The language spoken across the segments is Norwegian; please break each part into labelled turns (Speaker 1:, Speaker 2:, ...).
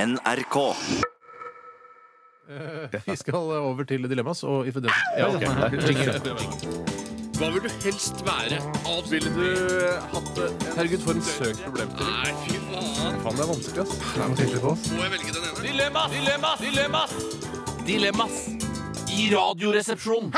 Speaker 1: NRK.
Speaker 2: Vi skal eh, over til dilemmas. Og i for den-
Speaker 3: Ah,
Speaker 2: ja,
Speaker 4: ok.
Speaker 2: denne her- jingle.
Speaker 3: sånn, Hva vil du helst være? Ville du hatt det? Herregud, for en søk problemstilling. Nei, fy faen.
Speaker 4: Faen, det er vanskelig, ass.
Speaker 3: Må jeg velge den ene? Dilemmas! Dilemmas! Dilemmas! Dilemmas i Radioresepsjonen.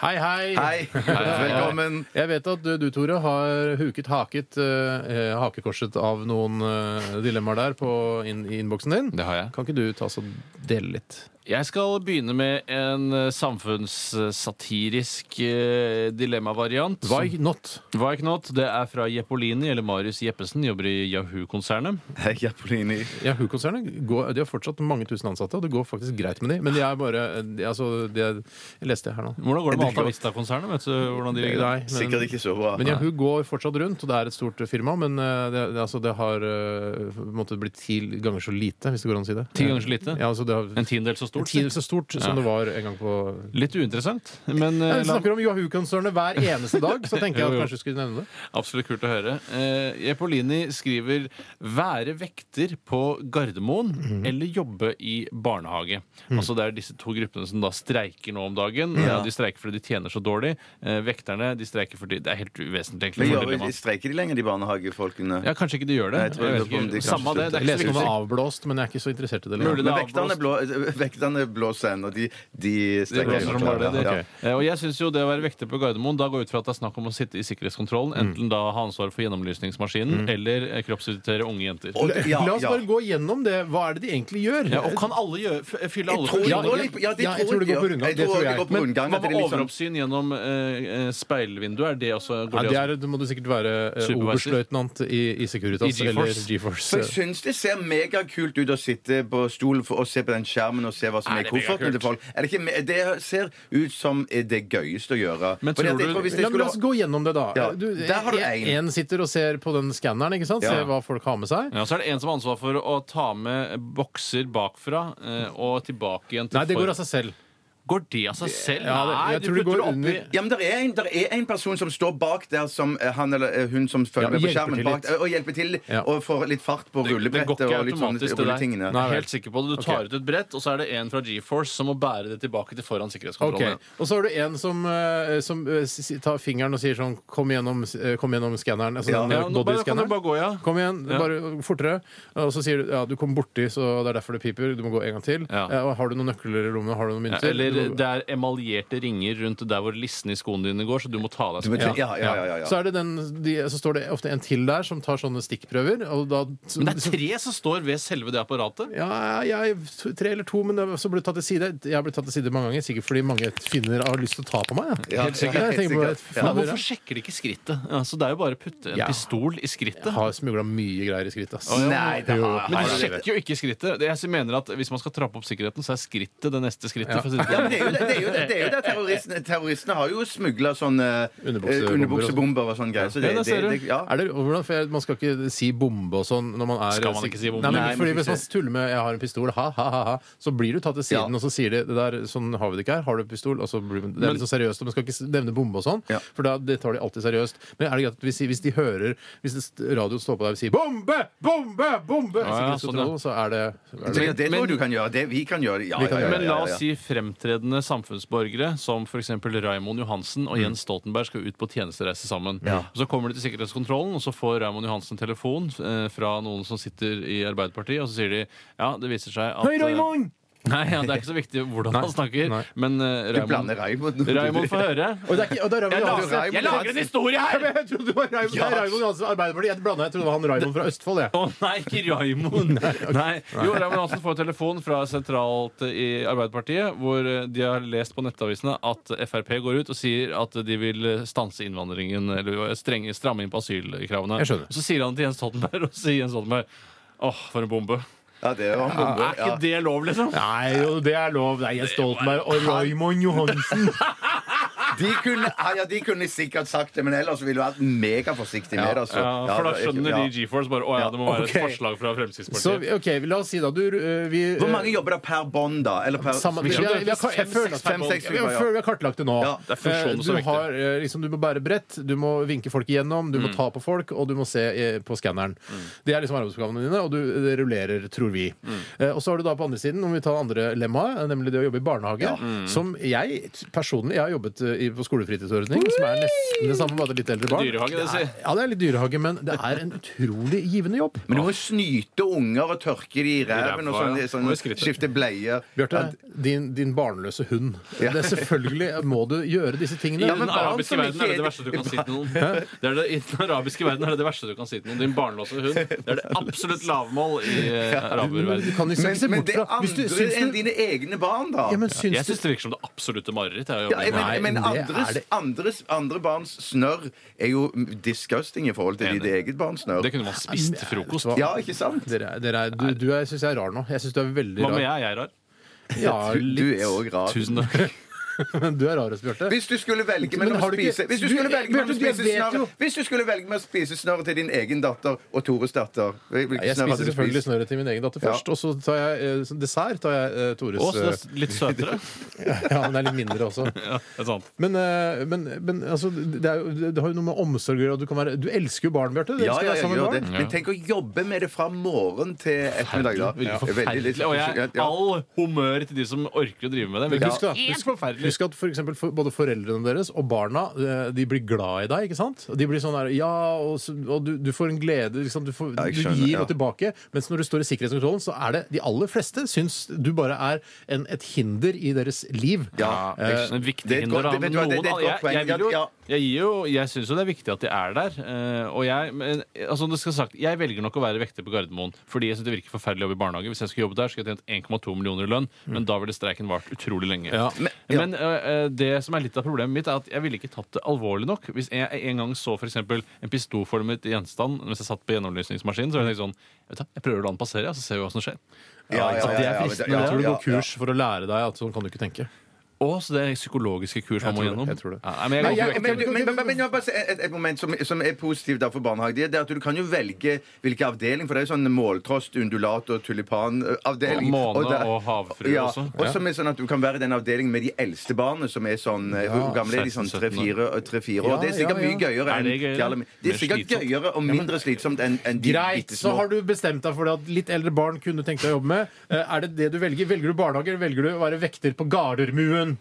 Speaker 2: Hei, hei.
Speaker 4: Hei, velkommen.
Speaker 2: Jeg vet at du, du, Tore, har huket haket eh, hakekorset av noen eh, dilemmaer der på inn, i innboksen din.
Speaker 3: Det har jeg.
Speaker 2: Kan ikke du ta oss og dele litt?
Speaker 3: Jeg skal begynne med en eh, samfunnssatirisk eh, dilemma-variant.
Speaker 2: Why not?
Speaker 3: Why not? Det er fra Jeppolini, eller Marius Jeppesen, jobber i Yahoo-konsernet.
Speaker 4: Hei, Japolini.
Speaker 2: Yahoo-konsernet går- de har fortsatt mange tusen ansatte, og det går faktisk greit med de. Men de er bare de, altså, de er, Jeg leste det her nå. Eh,
Speaker 3: Hvordan går det med
Speaker 4: Det er
Speaker 3: Alta Vista-konsernet? Vet du hvordan de ligger der?
Speaker 2: Nei, men,
Speaker 4: Sikkert ikke så bra.
Speaker 2: men Yahoo går fortsatt rundt, og det er et stort firma. Men eh, det, det, altså, det har eh, på en måte blitt ti ganger så lite, hvis det går an å si det.
Speaker 3: Ti ganger så lite?
Speaker 2: Ja, altså, det har,
Speaker 3: En tiendedel så
Speaker 2: En
Speaker 3: stort?
Speaker 2: tiendedel så stort som
Speaker 3: Ja.
Speaker 2: det var en gang på
Speaker 3: Litt uinteressant, men eh,
Speaker 2: Vi snakker om Yahoo-konsernet hver eneste dag, så tenker jeg
Speaker 3: Jo,
Speaker 2: at
Speaker 3: jo.
Speaker 2: kanskje du skulle nevne det.
Speaker 3: absolutt kult å høre. Eh, Jepolini skriver 'være vekter på Gardermoen
Speaker 4: Mhm.
Speaker 3: eller jobbe i barnehage'. Altså Det er disse to gruppene som da streiker nå om dagen. Eh, De streiker fordi de tjener så dårlig. Eh, vekterne de streiker fordi Det er helt uvesentlig.
Speaker 4: Men
Speaker 3: egentlig. for
Speaker 4: gjør-
Speaker 3: dilemmaet.
Speaker 4: Streiker de lenger, de barnehagefolkene?
Speaker 3: Ja, Kanskje ikke de gjør det.
Speaker 4: Nei, jeg tror
Speaker 3: Jeg
Speaker 4: jeg
Speaker 3: vet
Speaker 4: lurer på om
Speaker 3: ikke.
Speaker 4: de kanskje
Speaker 3: Samme det, det
Speaker 2: Jeg
Speaker 3: er
Speaker 2: leste om
Speaker 3: ikke så
Speaker 2: det
Speaker 3: viktig.
Speaker 2: var avblåst, men jeg er ikke så interessert i det. lenger.
Speaker 3: Mulig det
Speaker 4: Men
Speaker 3: er
Speaker 4: vekterne, blå, eh, vekterne blåser ennå. De, de
Speaker 3: Det
Speaker 4: streiker.
Speaker 3: blåser som bare det, det.
Speaker 4: Ja.
Speaker 3: Eh, Og jeg synes jo det å være vekter på Gardermoen Da går jeg ut fra at det er snakk om å sitte i sikkerhetskontrollen
Speaker 4: Mm.
Speaker 3: Enten da ha ansvar for gjennomlysningsmaskinen Eller eh, kroppsvisitere unge jenter
Speaker 4: Og- ja,
Speaker 2: La oss
Speaker 4: ja.
Speaker 2: bare gå gjennom det. Hva er det de egentlig gjør?
Speaker 3: ja, Og kan alle gjøre, f- fylle alle
Speaker 4: Jeg tror de
Speaker 3: funksjoner?
Speaker 4: går litt på- ja, de
Speaker 2: Ja, jeg tror de
Speaker 4: de
Speaker 2: går på
Speaker 4: gjør.
Speaker 2: rundgang.
Speaker 4: Jeg
Speaker 2: Det
Speaker 4: tror
Speaker 2: tror
Speaker 4: de
Speaker 2: jeg.
Speaker 4: går på
Speaker 3: Men
Speaker 4: rundgang,
Speaker 3: hva
Speaker 4: at det
Speaker 3: med
Speaker 4: er litt sånn-
Speaker 3: overoppsyn gjennom eh, eh, speilvinduet? Er det også går
Speaker 2: Ja,
Speaker 3: det
Speaker 2: det
Speaker 3: også?
Speaker 2: er, du må du sikkert være eh,
Speaker 3: Supervisor.
Speaker 2: oberstløytnant i, i Securitas
Speaker 3: I GeForce.
Speaker 2: eller GeForce.
Speaker 4: For jeg syns det ser megakult ut å sitte på stolen for- og se på den skjermen og se hva som
Speaker 3: Er
Speaker 4: er,
Speaker 3: det
Speaker 4: kofferten
Speaker 3: megakult?
Speaker 4: til folk. Er det, ikke, me- det ser ut som det gøyeste å gjøre.
Speaker 3: Men
Speaker 4: Fordi
Speaker 3: tror
Speaker 4: at jeg
Speaker 3: du-
Speaker 4: tror hvis jeg
Speaker 2: Ja, men la
Speaker 4: skulle
Speaker 2: oss gå gjennom det, da.
Speaker 4: Ja,
Speaker 2: Du,
Speaker 4: der har du
Speaker 2: en,
Speaker 4: en.
Speaker 2: en sitter og ser på den skanneren, ikke sant?
Speaker 4: Ja.
Speaker 2: ser hva folk har med seg.
Speaker 3: Ja, så er det en som har ansvar for å ta med bokser bakfra eh, og tilbake igjen til
Speaker 2: Nei, det går
Speaker 3: for-
Speaker 2: av seg selv.
Speaker 3: Går det av seg selv?
Speaker 2: Ja, det-
Speaker 3: Nei,
Speaker 2: jeg
Speaker 3: du
Speaker 2: tror det
Speaker 3: putter
Speaker 2: går
Speaker 3: oppi-
Speaker 2: under-
Speaker 4: Ja, men der er, en, der er en person som står bak der som eh, han eller eh, hun som
Speaker 2: Ja,
Speaker 4: følger
Speaker 2: og
Speaker 4: med på
Speaker 2: hjelper
Speaker 4: skjermen,
Speaker 2: til
Speaker 4: bak,
Speaker 2: litt.
Speaker 4: og hjelper til
Speaker 2: Ja.
Speaker 4: og får litt fart på rullebrettet og litt sånne rulletingene.
Speaker 3: Jeg er
Speaker 2: Nei,
Speaker 3: helt sikker på det. Du tar ut et brett, og så er det en fra GeForce som må bære det tilbake til foran
Speaker 2: Ok,
Speaker 3: sikkerhetskontrollen.
Speaker 2: Og så har du en som, eh, som eh, s- s- tar fingeren og sier sånn Kom gjennom, eh, kom gjennom skanneren. Altså
Speaker 4: Ja.
Speaker 2: den
Speaker 3: Ja, nå bare, kan du
Speaker 2: bodyscanneren.
Speaker 3: bare gå, ja.
Speaker 2: Kom igjen,
Speaker 3: Ja.
Speaker 2: bare fortere. Og så sier du ja, du kom borti, så det er derfor det piper. Du må gå en gang til.
Speaker 3: Ja.
Speaker 2: Eh, og Har du noen nøkler i rommet? Har du noen
Speaker 3: Ja,
Speaker 2: mynter?
Speaker 3: eller
Speaker 2: Du må-
Speaker 3: det er emaljerte ringer rundt der hvor lissene i skoene dine går, så du må ta deg
Speaker 4: Du vet-
Speaker 3: skoene.
Speaker 4: Ja, ja, ja, ja, ja.
Speaker 2: Så, er det den, de, så står det ofte en til der som tar sånne stikkprøver. Og da,
Speaker 3: Men det er tre som står ved selve det apparatet.
Speaker 2: Ja, jeg, tre eller to, men det- så ble det tatt til side. Jeg har blitt tatt til side mange ganger, sikkert fordi mange finner har lyst til å ta på meg.
Speaker 4: Ja, helt
Speaker 2: Jeg
Speaker 4: sikkert,
Speaker 2: tenker på
Speaker 4: helt
Speaker 2: det.
Speaker 4: sikkert.
Speaker 3: Men
Speaker 2: Fader,
Speaker 3: hvorfor sjekker de ikke skrittet? Altså, det er jo bare å putte en
Speaker 2: Ja.
Speaker 3: pistol i skrittet.
Speaker 2: jeg har smugla mye greier i skrittet. ass.
Speaker 4: Nei, det har
Speaker 3: Men de
Speaker 4: har-
Speaker 3: sjekker jo ikke skrittet. Det- Jeg mener at Hvis man skal trappe opp sikkerheten, så er skrittet det neste skrittet. for å si det
Speaker 4: Ja,
Speaker 3: sånn.
Speaker 4: men det er jo det, det, er jo det, det, er jo det. Terroristene, terroristene har jo smugla sånne eh,
Speaker 2: Underbuksebomber og
Speaker 4: underbuksebomber og sånn greier. Så det,
Speaker 3: Ja, det
Speaker 4: det,
Speaker 3: ser du.
Speaker 4: det, ja.
Speaker 2: Er det, og hvordan, for jeg, man skal ikke si bombe og sånn når man er
Speaker 3: Skal man ikke si bombe?
Speaker 2: Nei, men,
Speaker 4: Nei,
Speaker 2: fordi
Speaker 4: man
Speaker 2: Hvis
Speaker 4: skal
Speaker 2: man
Speaker 4: ikke
Speaker 2: tuller med 'jeg har en pistol', ha, ha, ha, ha så blir du tatt til siden,
Speaker 4: Ja.
Speaker 2: og så sier de det der 'sånn har vi det ikke her', har du pistol? Og så blir, det er litt sånn seriøst, og man skal ikke s- nevne bombe og sånn,
Speaker 4: Ja.
Speaker 2: for da, det tar de alltid seriøst. Men er det greit at vi sier, hvis de hører Hvis det st- radioen står på der og sier 'bombe, bombe, bombe',
Speaker 3: Ja, ja, sånn, ja.
Speaker 2: sikkerhetskontrollen, så er det, er
Speaker 4: Så
Speaker 2: det
Speaker 4: ja, det tror
Speaker 3: Men-
Speaker 4: jeg du kan gjøre. Det vi kan gjøre. Ja,
Speaker 2: Vi kan
Speaker 4: ja,
Speaker 2: gjøre
Speaker 4: ja,
Speaker 3: Men
Speaker 4: ja,
Speaker 3: la
Speaker 4: ja,
Speaker 3: oss
Speaker 4: ja.
Speaker 3: si fremtredende samfunnsborgere som f.eks. Raymond Johansen og
Speaker 4: Mm.
Speaker 3: Jens Stoltenberg skal ut på tjenestereise sammen. Og Så kommer de til sikkerhetskontrollen, og så får Raymond Johansen en telefon eh, fra noen som sitter i Arbeiderpartiet, og så sier de ja, det viser seg at eh, Nei, ja, Det er ikke så viktig hvordan han snakker,
Speaker 2: nei.
Speaker 3: men eh,
Speaker 4: Du blander
Speaker 3: Raymond
Speaker 4: Raymond.
Speaker 3: Raymond får høre.
Speaker 2: Og det er ikke, og det er
Speaker 3: Jeg
Speaker 2: Raymond Johansen.
Speaker 3: lager, jeg lager en historie her!
Speaker 2: Jeg trodde det var Raymond,
Speaker 4: Ja.
Speaker 2: det er Raymond Johansen, Arbeiderpartiet. Jeg blanda, jeg trodde det var han Raymond fra Østfold, jeg.
Speaker 3: Å nei, ikke Raymond! Nei. Jo, Raymond Hansen får telefon fra sentralt eh, i Arbeiderpartiet, hvor eh, de har lest på nettavisene at Frp går ut og sier at de vil eh, stanse innvandringen, eller eh, strenge, stramme inn på asylkravene.
Speaker 2: Jeg skjønner.
Speaker 3: Så sier han til Jens Stoltenberg, og sier Jens Stoltenberg åh, for en bombe.
Speaker 4: Ja, det var en bombe.
Speaker 3: Er ikke
Speaker 4: Ja.
Speaker 3: det lov, liksom?
Speaker 2: Nei, jo, det er lov. Det er Jens Stoltenberg og Raymond Johansen.
Speaker 4: De kunne, ah, ja, de kunne sikkert sagt det, men ellers ville du vært megaforsiktig med det. Altså.
Speaker 3: Ja, for da skjønner
Speaker 4: ja.
Speaker 3: de GeForce bare Å ja, det må være
Speaker 2: ok.
Speaker 3: et forslag fra
Speaker 2: Så
Speaker 3: Fremskrittspartiet.
Speaker 2: OK, la oss si da du eh, vi, eh,
Speaker 4: Hvor mange jobber det per bånd, da? Eller per
Speaker 2: Samme- vi, vi, har- vi, har- jeg føler-
Speaker 3: Fem,
Speaker 4: seks,
Speaker 2: vi har-
Speaker 4: ja.
Speaker 2: føler vi har kartlagt det nå.
Speaker 4: Ja,
Speaker 3: det er funksjonen
Speaker 2: Eh,
Speaker 3: som er
Speaker 2: du, har, eh, liksom, du må bære brett, du må vinke folk igjennom, du
Speaker 4: Mm.
Speaker 2: må ta på folk, og du må se eh, på skanneren. Det er liksom arbeidsoppgavene dine, og du, det rullerer, tror vi.
Speaker 4: Mm.
Speaker 2: Eh, Og så har du da på andre siden, om vi tar andre lemmaet, nemlig det å jobbe i barnehage,
Speaker 4: Mm.
Speaker 2: som jeg personlig Jeg har jobbet eh, i- på skolefritidsordning, som er nesten det samme, bare litt eldre barn.
Speaker 3: Dyrehage, det
Speaker 2: er,
Speaker 3: sier.
Speaker 2: ja, det er litt dyrehage, men det er en utrolig givende jobb.
Speaker 4: Men du må jo snyte unger og tørke de i ræven og sånn.
Speaker 3: ræva, ja.
Speaker 4: sånn
Speaker 3: Og i skrittet.
Speaker 4: skifte bleier.
Speaker 2: Bjarte, din, din barnløse hund.
Speaker 4: Ja.
Speaker 2: Det er selvfølgelig må du gjøre disse tingene.
Speaker 4: Ja,
Speaker 3: I
Speaker 4: men
Speaker 3: den
Speaker 4: barn
Speaker 3: arabiske
Speaker 4: som
Speaker 3: verden
Speaker 4: ikke
Speaker 3: er det det
Speaker 4: er-
Speaker 3: verste du kan si til noen. Det er det, I den arabiske verden er det det verste du kan si til noen. Din barnlåse hund. Det er det absolutt lavmål i eh,
Speaker 2: Men du
Speaker 3: araberverdenen.
Speaker 2: kan jo ikke
Speaker 4: Men,
Speaker 2: se
Speaker 4: men
Speaker 2: bort
Speaker 4: det er
Speaker 2: fra Hvis du
Speaker 4: andre
Speaker 2: syns
Speaker 4: enn
Speaker 2: du
Speaker 4: dine egne barn, da.
Speaker 2: ja, men syns
Speaker 3: Jeg
Speaker 2: du-
Speaker 3: syns det virker som det absolutte mareritt. jeg å jobbe
Speaker 4: Ja, men,
Speaker 3: med.
Speaker 2: Nei,
Speaker 4: men
Speaker 2: men det er
Speaker 4: andres,
Speaker 2: det-
Speaker 4: andres, andre barns snørr er jo disgusting i forhold til
Speaker 3: Enig.
Speaker 4: ditt eget barns snørr.
Speaker 3: Det kunne man spist til frokost.
Speaker 2: Vet du hva?
Speaker 4: Ja, ikke sant?
Speaker 2: Dere, er- dere er, du du er, syns jeg er rar nå. Jeg syns du er veldig
Speaker 3: Hva med
Speaker 2: rar.
Speaker 3: jeg? Jeg er rar.
Speaker 2: Ja,
Speaker 4: Du, du er
Speaker 2: litt.
Speaker 4: òg rar.
Speaker 3: Tusen takk.
Speaker 2: Men du er rarest, Bjarte.
Speaker 4: Hvis du skulle velge mellom
Speaker 2: Men
Speaker 4: å
Speaker 2: har du ikke-
Speaker 4: spise Hvis du
Speaker 2: du-
Speaker 4: skulle velge mellom å
Speaker 2: Bjarte, du
Speaker 4: spise
Speaker 2: vet jo-
Speaker 4: snørr Hvis du skulle velge mellom å spise snørr til din egen datter og Tores datter hvilket
Speaker 2: Jeg
Speaker 4: snørr hadde
Speaker 2: spiser
Speaker 4: du
Speaker 2: selvfølgelig
Speaker 4: spist?
Speaker 2: snørret til min egen datter
Speaker 4: Ja.
Speaker 2: først. Og så tar jeg eh, som dessert tar jeg eh, Tores
Speaker 3: Å, så det
Speaker 2: eh,
Speaker 3: er litt søtere.
Speaker 2: Ja, men det er litt mindre også.
Speaker 3: Ja, det er sant.
Speaker 2: Men, eh, men, men altså, det, er, jo- det har jo noe med omsorg å gjøre. og Du, kan være- du elsker jo barn, Bjarte. Du
Speaker 4: Ja,
Speaker 2: elsker å
Speaker 4: ja,
Speaker 2: være
Speaker 4: jeg
Speaker 2: sammen med
Speaker 4: gjør det.
Speaker 2: barn.
Speaker 4: Men tenk å jobbe med det fra morgen til ettermiddag. da.
Speaker 3: Veldig
Speaker 4: Det er veldig litt-
Speaker 3: forferdelig. Og jeg
Speaker 4: ja.
Speaker 3: all humør til de som orker å drive med det. Men
Speaker 2: Husk, da,
Speaker 3: Helt
Speaker 2: husk,
Speaker 3: forferdelig.
Speaker 2: husk at for eksempel for, både foreldrene deres og barna eh, De blir glad i deg. ikke sant? Og De blir sånn der, ja, og, så- og du, du får en glede. Ikke sant? Du, får,
Speaker 4: Ja, jeg
Speaker 2: du
Speaker 4: skjønner,
Speaker 2: gir
Speaker 4: ja.
Speaker 2: noe tilbake. Mens når du står i sikkerhetskontrollen, så er det de aller fleste syns du bare er en, et hinder i deres liv.
Speaker 4: Ja.
Speaker 3: Eh, en viktig
Speaker 4: Det er et
Speaker 3: hinder, da.
Speaker 4: godt- det- vet du hva, det- det er et
Speaker 3: noen-
Speaker 4: godt poeng.
Speaker 3: Jeg, jeg, vil
Speaker 4: Ja.
Speaker 3: jo- jeg, gir jo- jeg syns jo det er viktig at de er der. eh, og jeg, men, altså, det skal sagt, jeg velger nok å være vekter på Gardermoen fordi jeg syns det virker forferdelig å jobbe i barnehage. Hvis jeg skulle jobbet der, skulle jeg tjent 1,2 millioner i lønn, men da ville streiken vart utrolig lenge.
Speaker 2: Ja.
Speaker 3: Men,
Speaker 4: Mm. ja.
Speaker 3: eh, eh, det som er litt av problemet mitt, er at jeg ville ikke tatt det alvorlig nok. Hvis jeg en gang så f.eks. en pistolformet gjenstand mens jeg satt på gjennomlysningsmaskinen, så var jeg tenkte sånn vet du hva, Jeg prøver å la den passere, ja, så ser vi hva som skjer.
Speaker 4: Ja, ja,
Speaker 3: Så det
Speaker 4: ja,
Speaker 3: er
Speaker 4: ja,
Speaker 3: fristende.
Speaker 4: ja,
Speaker 2: Jeg tror du
Speaker 4: ja,
Speaker 2: går kurs for å lære deg at sånn kan du ikke tenke.
Speaker 3: Å, så det er psykologiske kurs man
Speaker 2: Jeg tror
Speaker 3: må
Speaker 2: det,
Speaker 3: gjennom.
Speaker 2: jeg tror det.
Speaker 3: Ja, nei, men jeg går
Speaker 2: Nei,
Speaker 3: ikke
Speaker 2: jeg-
Speaker 3: vekter.
Speaker 4: Men, men, men, men, men ja, bare se et, et moment som, som er positivt da for barnehage, det er at du kan jo velge hvilken avdeling. For det er sånn måltrost, undulat og tulipanavdeling.
Speaker 3: Og måne og havfrue
Speaker 4: ja,
Speaker 3: også.
Speaker 4: Og som er sånn at du kan være i den avdelingen med de eldste barna, som er sånn eh, Hvor gamle er de? Sånn
Speaker 3: 16-17
Speaker 4: tre-fire år?
Speaker 2: Ja,
Speaker 4: det er
Speaker 2: ja,
Speaker 4: sikkert
Speaker 2: ja.
Speaker 4: mye gøyere.
Speaker 3: Er
Speaker 4: enn
Speaker 3: det gøyere?
Speaker 4: de alle- Det
Speaker 3: Mer
Speaker 4: er sikkert
Speaker 3: slitsomt.
Speaker 4: gøyere og mindre slitsomt enn enn de
Speaker 2: Greit, så har du bestemt deg for det at litt eldre barn kunne tenkt deg å jobbe med. Eh, Er det det du velger? Velger du barnehage, eller velger du å være vekter på Gardermuen?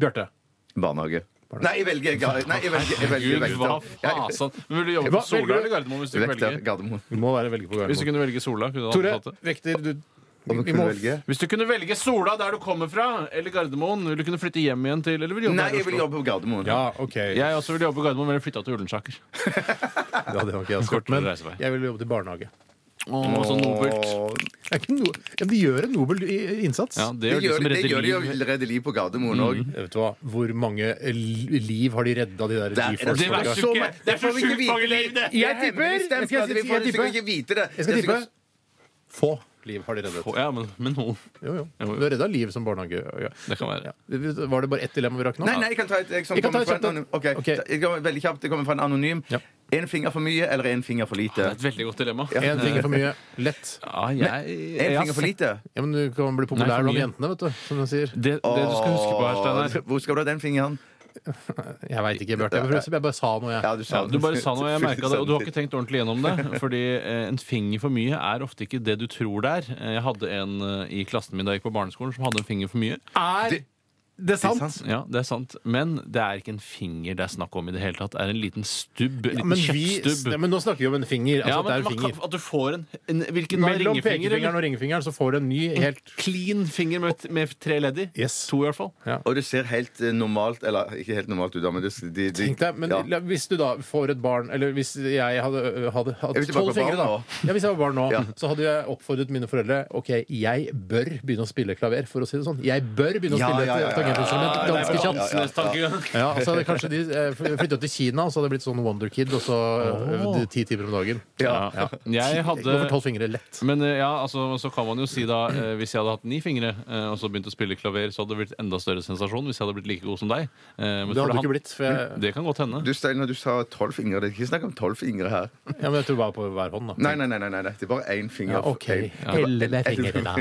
Speaker 2: Bjarte.
Speaker 4: Barnehage. Nei, jeg velger Gardermoen. Nei, jeg velger, jeg velger,
Speaker 3: Gud, hva
Speaker 4: vekter. Jeg-
Speaker 3: fasen? Men Vil du jobbe
Speaker 2: Hva
Speaker 3: på Sola
Speaker 2: velger
Speaker 3: eller
Speaker 2: du?
Speaker 3: Gardermoen hvis du kunne
Speaker 4: Vekter
Speaker 3: velge?
Speaker 4: Gardermoen.
Speaker 2: Du må være velger på
Speaker 3: Hvis du
Speaker 2: Gardermoen.
Speaker 3: kunne velge Sola, kunne du
Speaker 2: Tore,
Speaker 3: anbefalt det?
Speaker 2: vekter du
Speaker 4: Om du
Speaker 2: vi
Speaker 4: kunne
Speaker 2: må-
Speaker 4: velge?
Speaker 3: Hvis du kunne velge Sola der du kommer fra, eller Gardermoen, vil du kunne flytte hjem igjen til Eller vil du jobbe
Speaker 4: Nei,
Speaker 3: her i
Speaker 4: jeg vil
Speaker 3: Oslo?
Speaker 4: jobbe på Gardermoen.
Speaker 2: Ja, OK.
Speaker 3: Jeg også vil jobbe på Gardermoen, men vil flytte til Ullensaker.
Speaker 2: Ja, det var ikke jeg
Speaker 3: Kortere
Speaker 2: svart, men
Speaker 3: reisevei.
Speaker 2: jeg vil jobbe til barnehage.
Speaker 3: Åh, så sånn nobelt.
Speaker 4: Åh,
Speaker 2: Det er ikke noe- ja, men de gjør en nobel i- innsats.
Speaker 3: Ja, det
Speaker 4: Det
Speaker 3: gjør de
Speaker 4: gjør
Speaker 3: som
Speaker 4: det, det,
Speaker 3: redder
Speaker 4: gjør det jo
Speaker 3: liv. Mm.
Speaker 4: redder liv på Gardermoen òg.
Speaker 2: Jeg vet hva, Hvor mange eh, li- liv har de redda, de der
Speaker 4: Det er-
Speaker 2: GeForce?
Speaker 3: det verste-
Speaker 2: folka?
Speaker 3: ikke. Det er så sjukt mange liv,
Speaker 2: Jeg
Speaker 3: det.
Speaker 2: tipper-
Speaker 4: Jeg
Speaker 2: jeg skal
Speaker 4: skal, vi
Speaker 2: si-
Speaker 4: får,
Speaker 2: jeg
Speaker 4: vi skal
Speaker 2: tipper.
Speaker 4: ikke vite det.
Speaker 2: Jeg skal
Speaker 4: Det
Speaker 2: tippe få liv har de reddet.
Speaker 3: Åh, Ja, men, men noen.
Speaker 2: Jo, jo.
Speaker 3: Jo, jo.
Speaker 2: Du har redda liv som barnehage. Ja.
Speaker 3: Det kan være.
Speaker 2: Var det bare ett dilemma vi rakk nå?
Speaker 4: Nei, nei, jeg kan ta et jeg som
Speaker 2: Jeg kan
Speaker 4: kommer
Speaker 2: ta
Speaker 4: fra
Speaker 2: et
Speaker 4: en anonym.
Speaker 2: kjapt,
Speaker 4: Ok,
Speaker 2: da. Ok.
Speaker 4: Jeg kommer Veldig kjapt. Det kommer fra en anonym.
Speaker 2: Ja.
Speaker 4: En finger for mye eller en finger for
Speaker 3: Det
Speaker 4: lite?
Speaker 3: er et veldig godt dilemma.
Speaker 2: Én finger for mye. Lett.
Speaker 3: Ja, jeg,
Speaker 4: En
Speaker 3: jeg har
Speaker 4: finger for
Speaker 3: sett-
Speaker 4: lite?
Speaker 2: Ja, men du kan bli
Speaker 3: Nei,
Speaker 2: populær
Speaker 3: for
Speaker 2: blant
Speaker 3: mye.
Speaker 2: jentene, vet du. Som de sier.
Speaker 3: Det, det du skal huske på her, Steinar
Speaker 4: Åh, Hvor skal du ha den fingeren?
Speaker 2: Jeg veit ikke, Bjarte. Jeg bare- Jeg bare sa noe, jeg.
Speaker 4: Ja, du sa
Speaker 3: Ja,
Speaker 4: den.
Speaker 3: du bare sa noe, jeg merket det, og du har
Speaker 4: Fullstendig.
Speaker 3: ikke tenkt ordentlig gjennom det. Fordi eh, en finger for mye er ofte ikke det du tror det er. Eh, Jeg hadde en eh, i klassen min da jeg gikk på barneskolen som hadde en finger for mye.
Speaker 2: Er det sant?
Speaker 3: Ja, det er sant. Men det er ikke en finger det er snakk om i det hele tatt. Det er en liten stubb.
Speaker 2: Ja,
Speaker 3: En liten
Speaker 2: men, vi,
Speaker 3: kjøttstubb.
Speaker 2: ja, men nå snakker vi om en finger. Altså,
Speaker 3: ja,
Speaker 2: det er
Speaker 3: men
Speaker 2: en
Speaker 3: man
Speaker 2: finger.
Speaker 3: kan, at du får en, en Hvilken da?
Speaker 2: Mellom
Speaker 3: Ringefingeren?
Speaker 2: pekefingeren og ringefingeren så får du en ny helt
Speaker 3: Clean finger med, med tre ledd i?
Speaker 2: Yes.
Speaker 3: Mm. To, i hvert fall.
Speaker 4: Og det ser helt eh, normalt Eller ikke helt normalt ut, da, men det, de, de,
Speaker 2: Tenk deg, men
Speaker 4: ja.
Speaker 2: la- Hvis du da får et barn Eller hvis jeg hadde, ø, hadde hatt
Speaker 4: Hvis du bare
Speaker 2: tolv
Speaker 4: var barn
Speaker 2: fingre, da
Speaker 4: nå.
Speaker 2: ja, Hvis jeg var barn nå,
Speaker 4: Ja.
Speaker 2: så hadde jeg oppfordret mine foreldre Ok, jeg bør begynne å spille klaver, for å si det sånn. Jeg bør begynne å
Speaker 4: Ja,
Speaker 2: spille
Speaker 4: ja, ja, ja,
Speaker 2: et- et
Speaker 3: Ah,
Speaker 2: tangentinstrument ganske kjapt.
Speaker 3: Hansens tankegang.
Speaker 2: Ja, så hadde kanskje de eh, flytta til Kina, og så hadde det blitt sånn Wonder Kid, og så øvde ti timer om dagen.
Speaker 3: Ja, ja. Jeg
Speaker 2: Gå for
Speaker 3: hadde
Speaker 2: tolv fingre lett.
Speaker 3: men eh, ja, altså, så kan man jo si da eh, Hvis jeg hadde hatt ni fingre eh, og så begynt å spille klaver, så hadde det blitt enda større sensasjon hvis jeg hadde blitt like god som deg. Eh,
Speaker 2: Det
Speaker 3: men for
Speaker 2: hadde du
Speaker 3: han-
Speaker 2: ikke blitt. For jeg,
Speaker 3: Det kan godt hende.
Speaker 4: Du, Stein, når du sa tolv fingre, det er ikke snakk om tolv fingre her.
Speaker 2: ja, men jeg tror bare på hver hånd, da.
Speaker 4: Nei, nei, nei, nei, nei, nei. det er bare én finger.
Speaker 2: Ja, OK.
Speaker 4: En-
Speaker 2: Elle med fingre, da.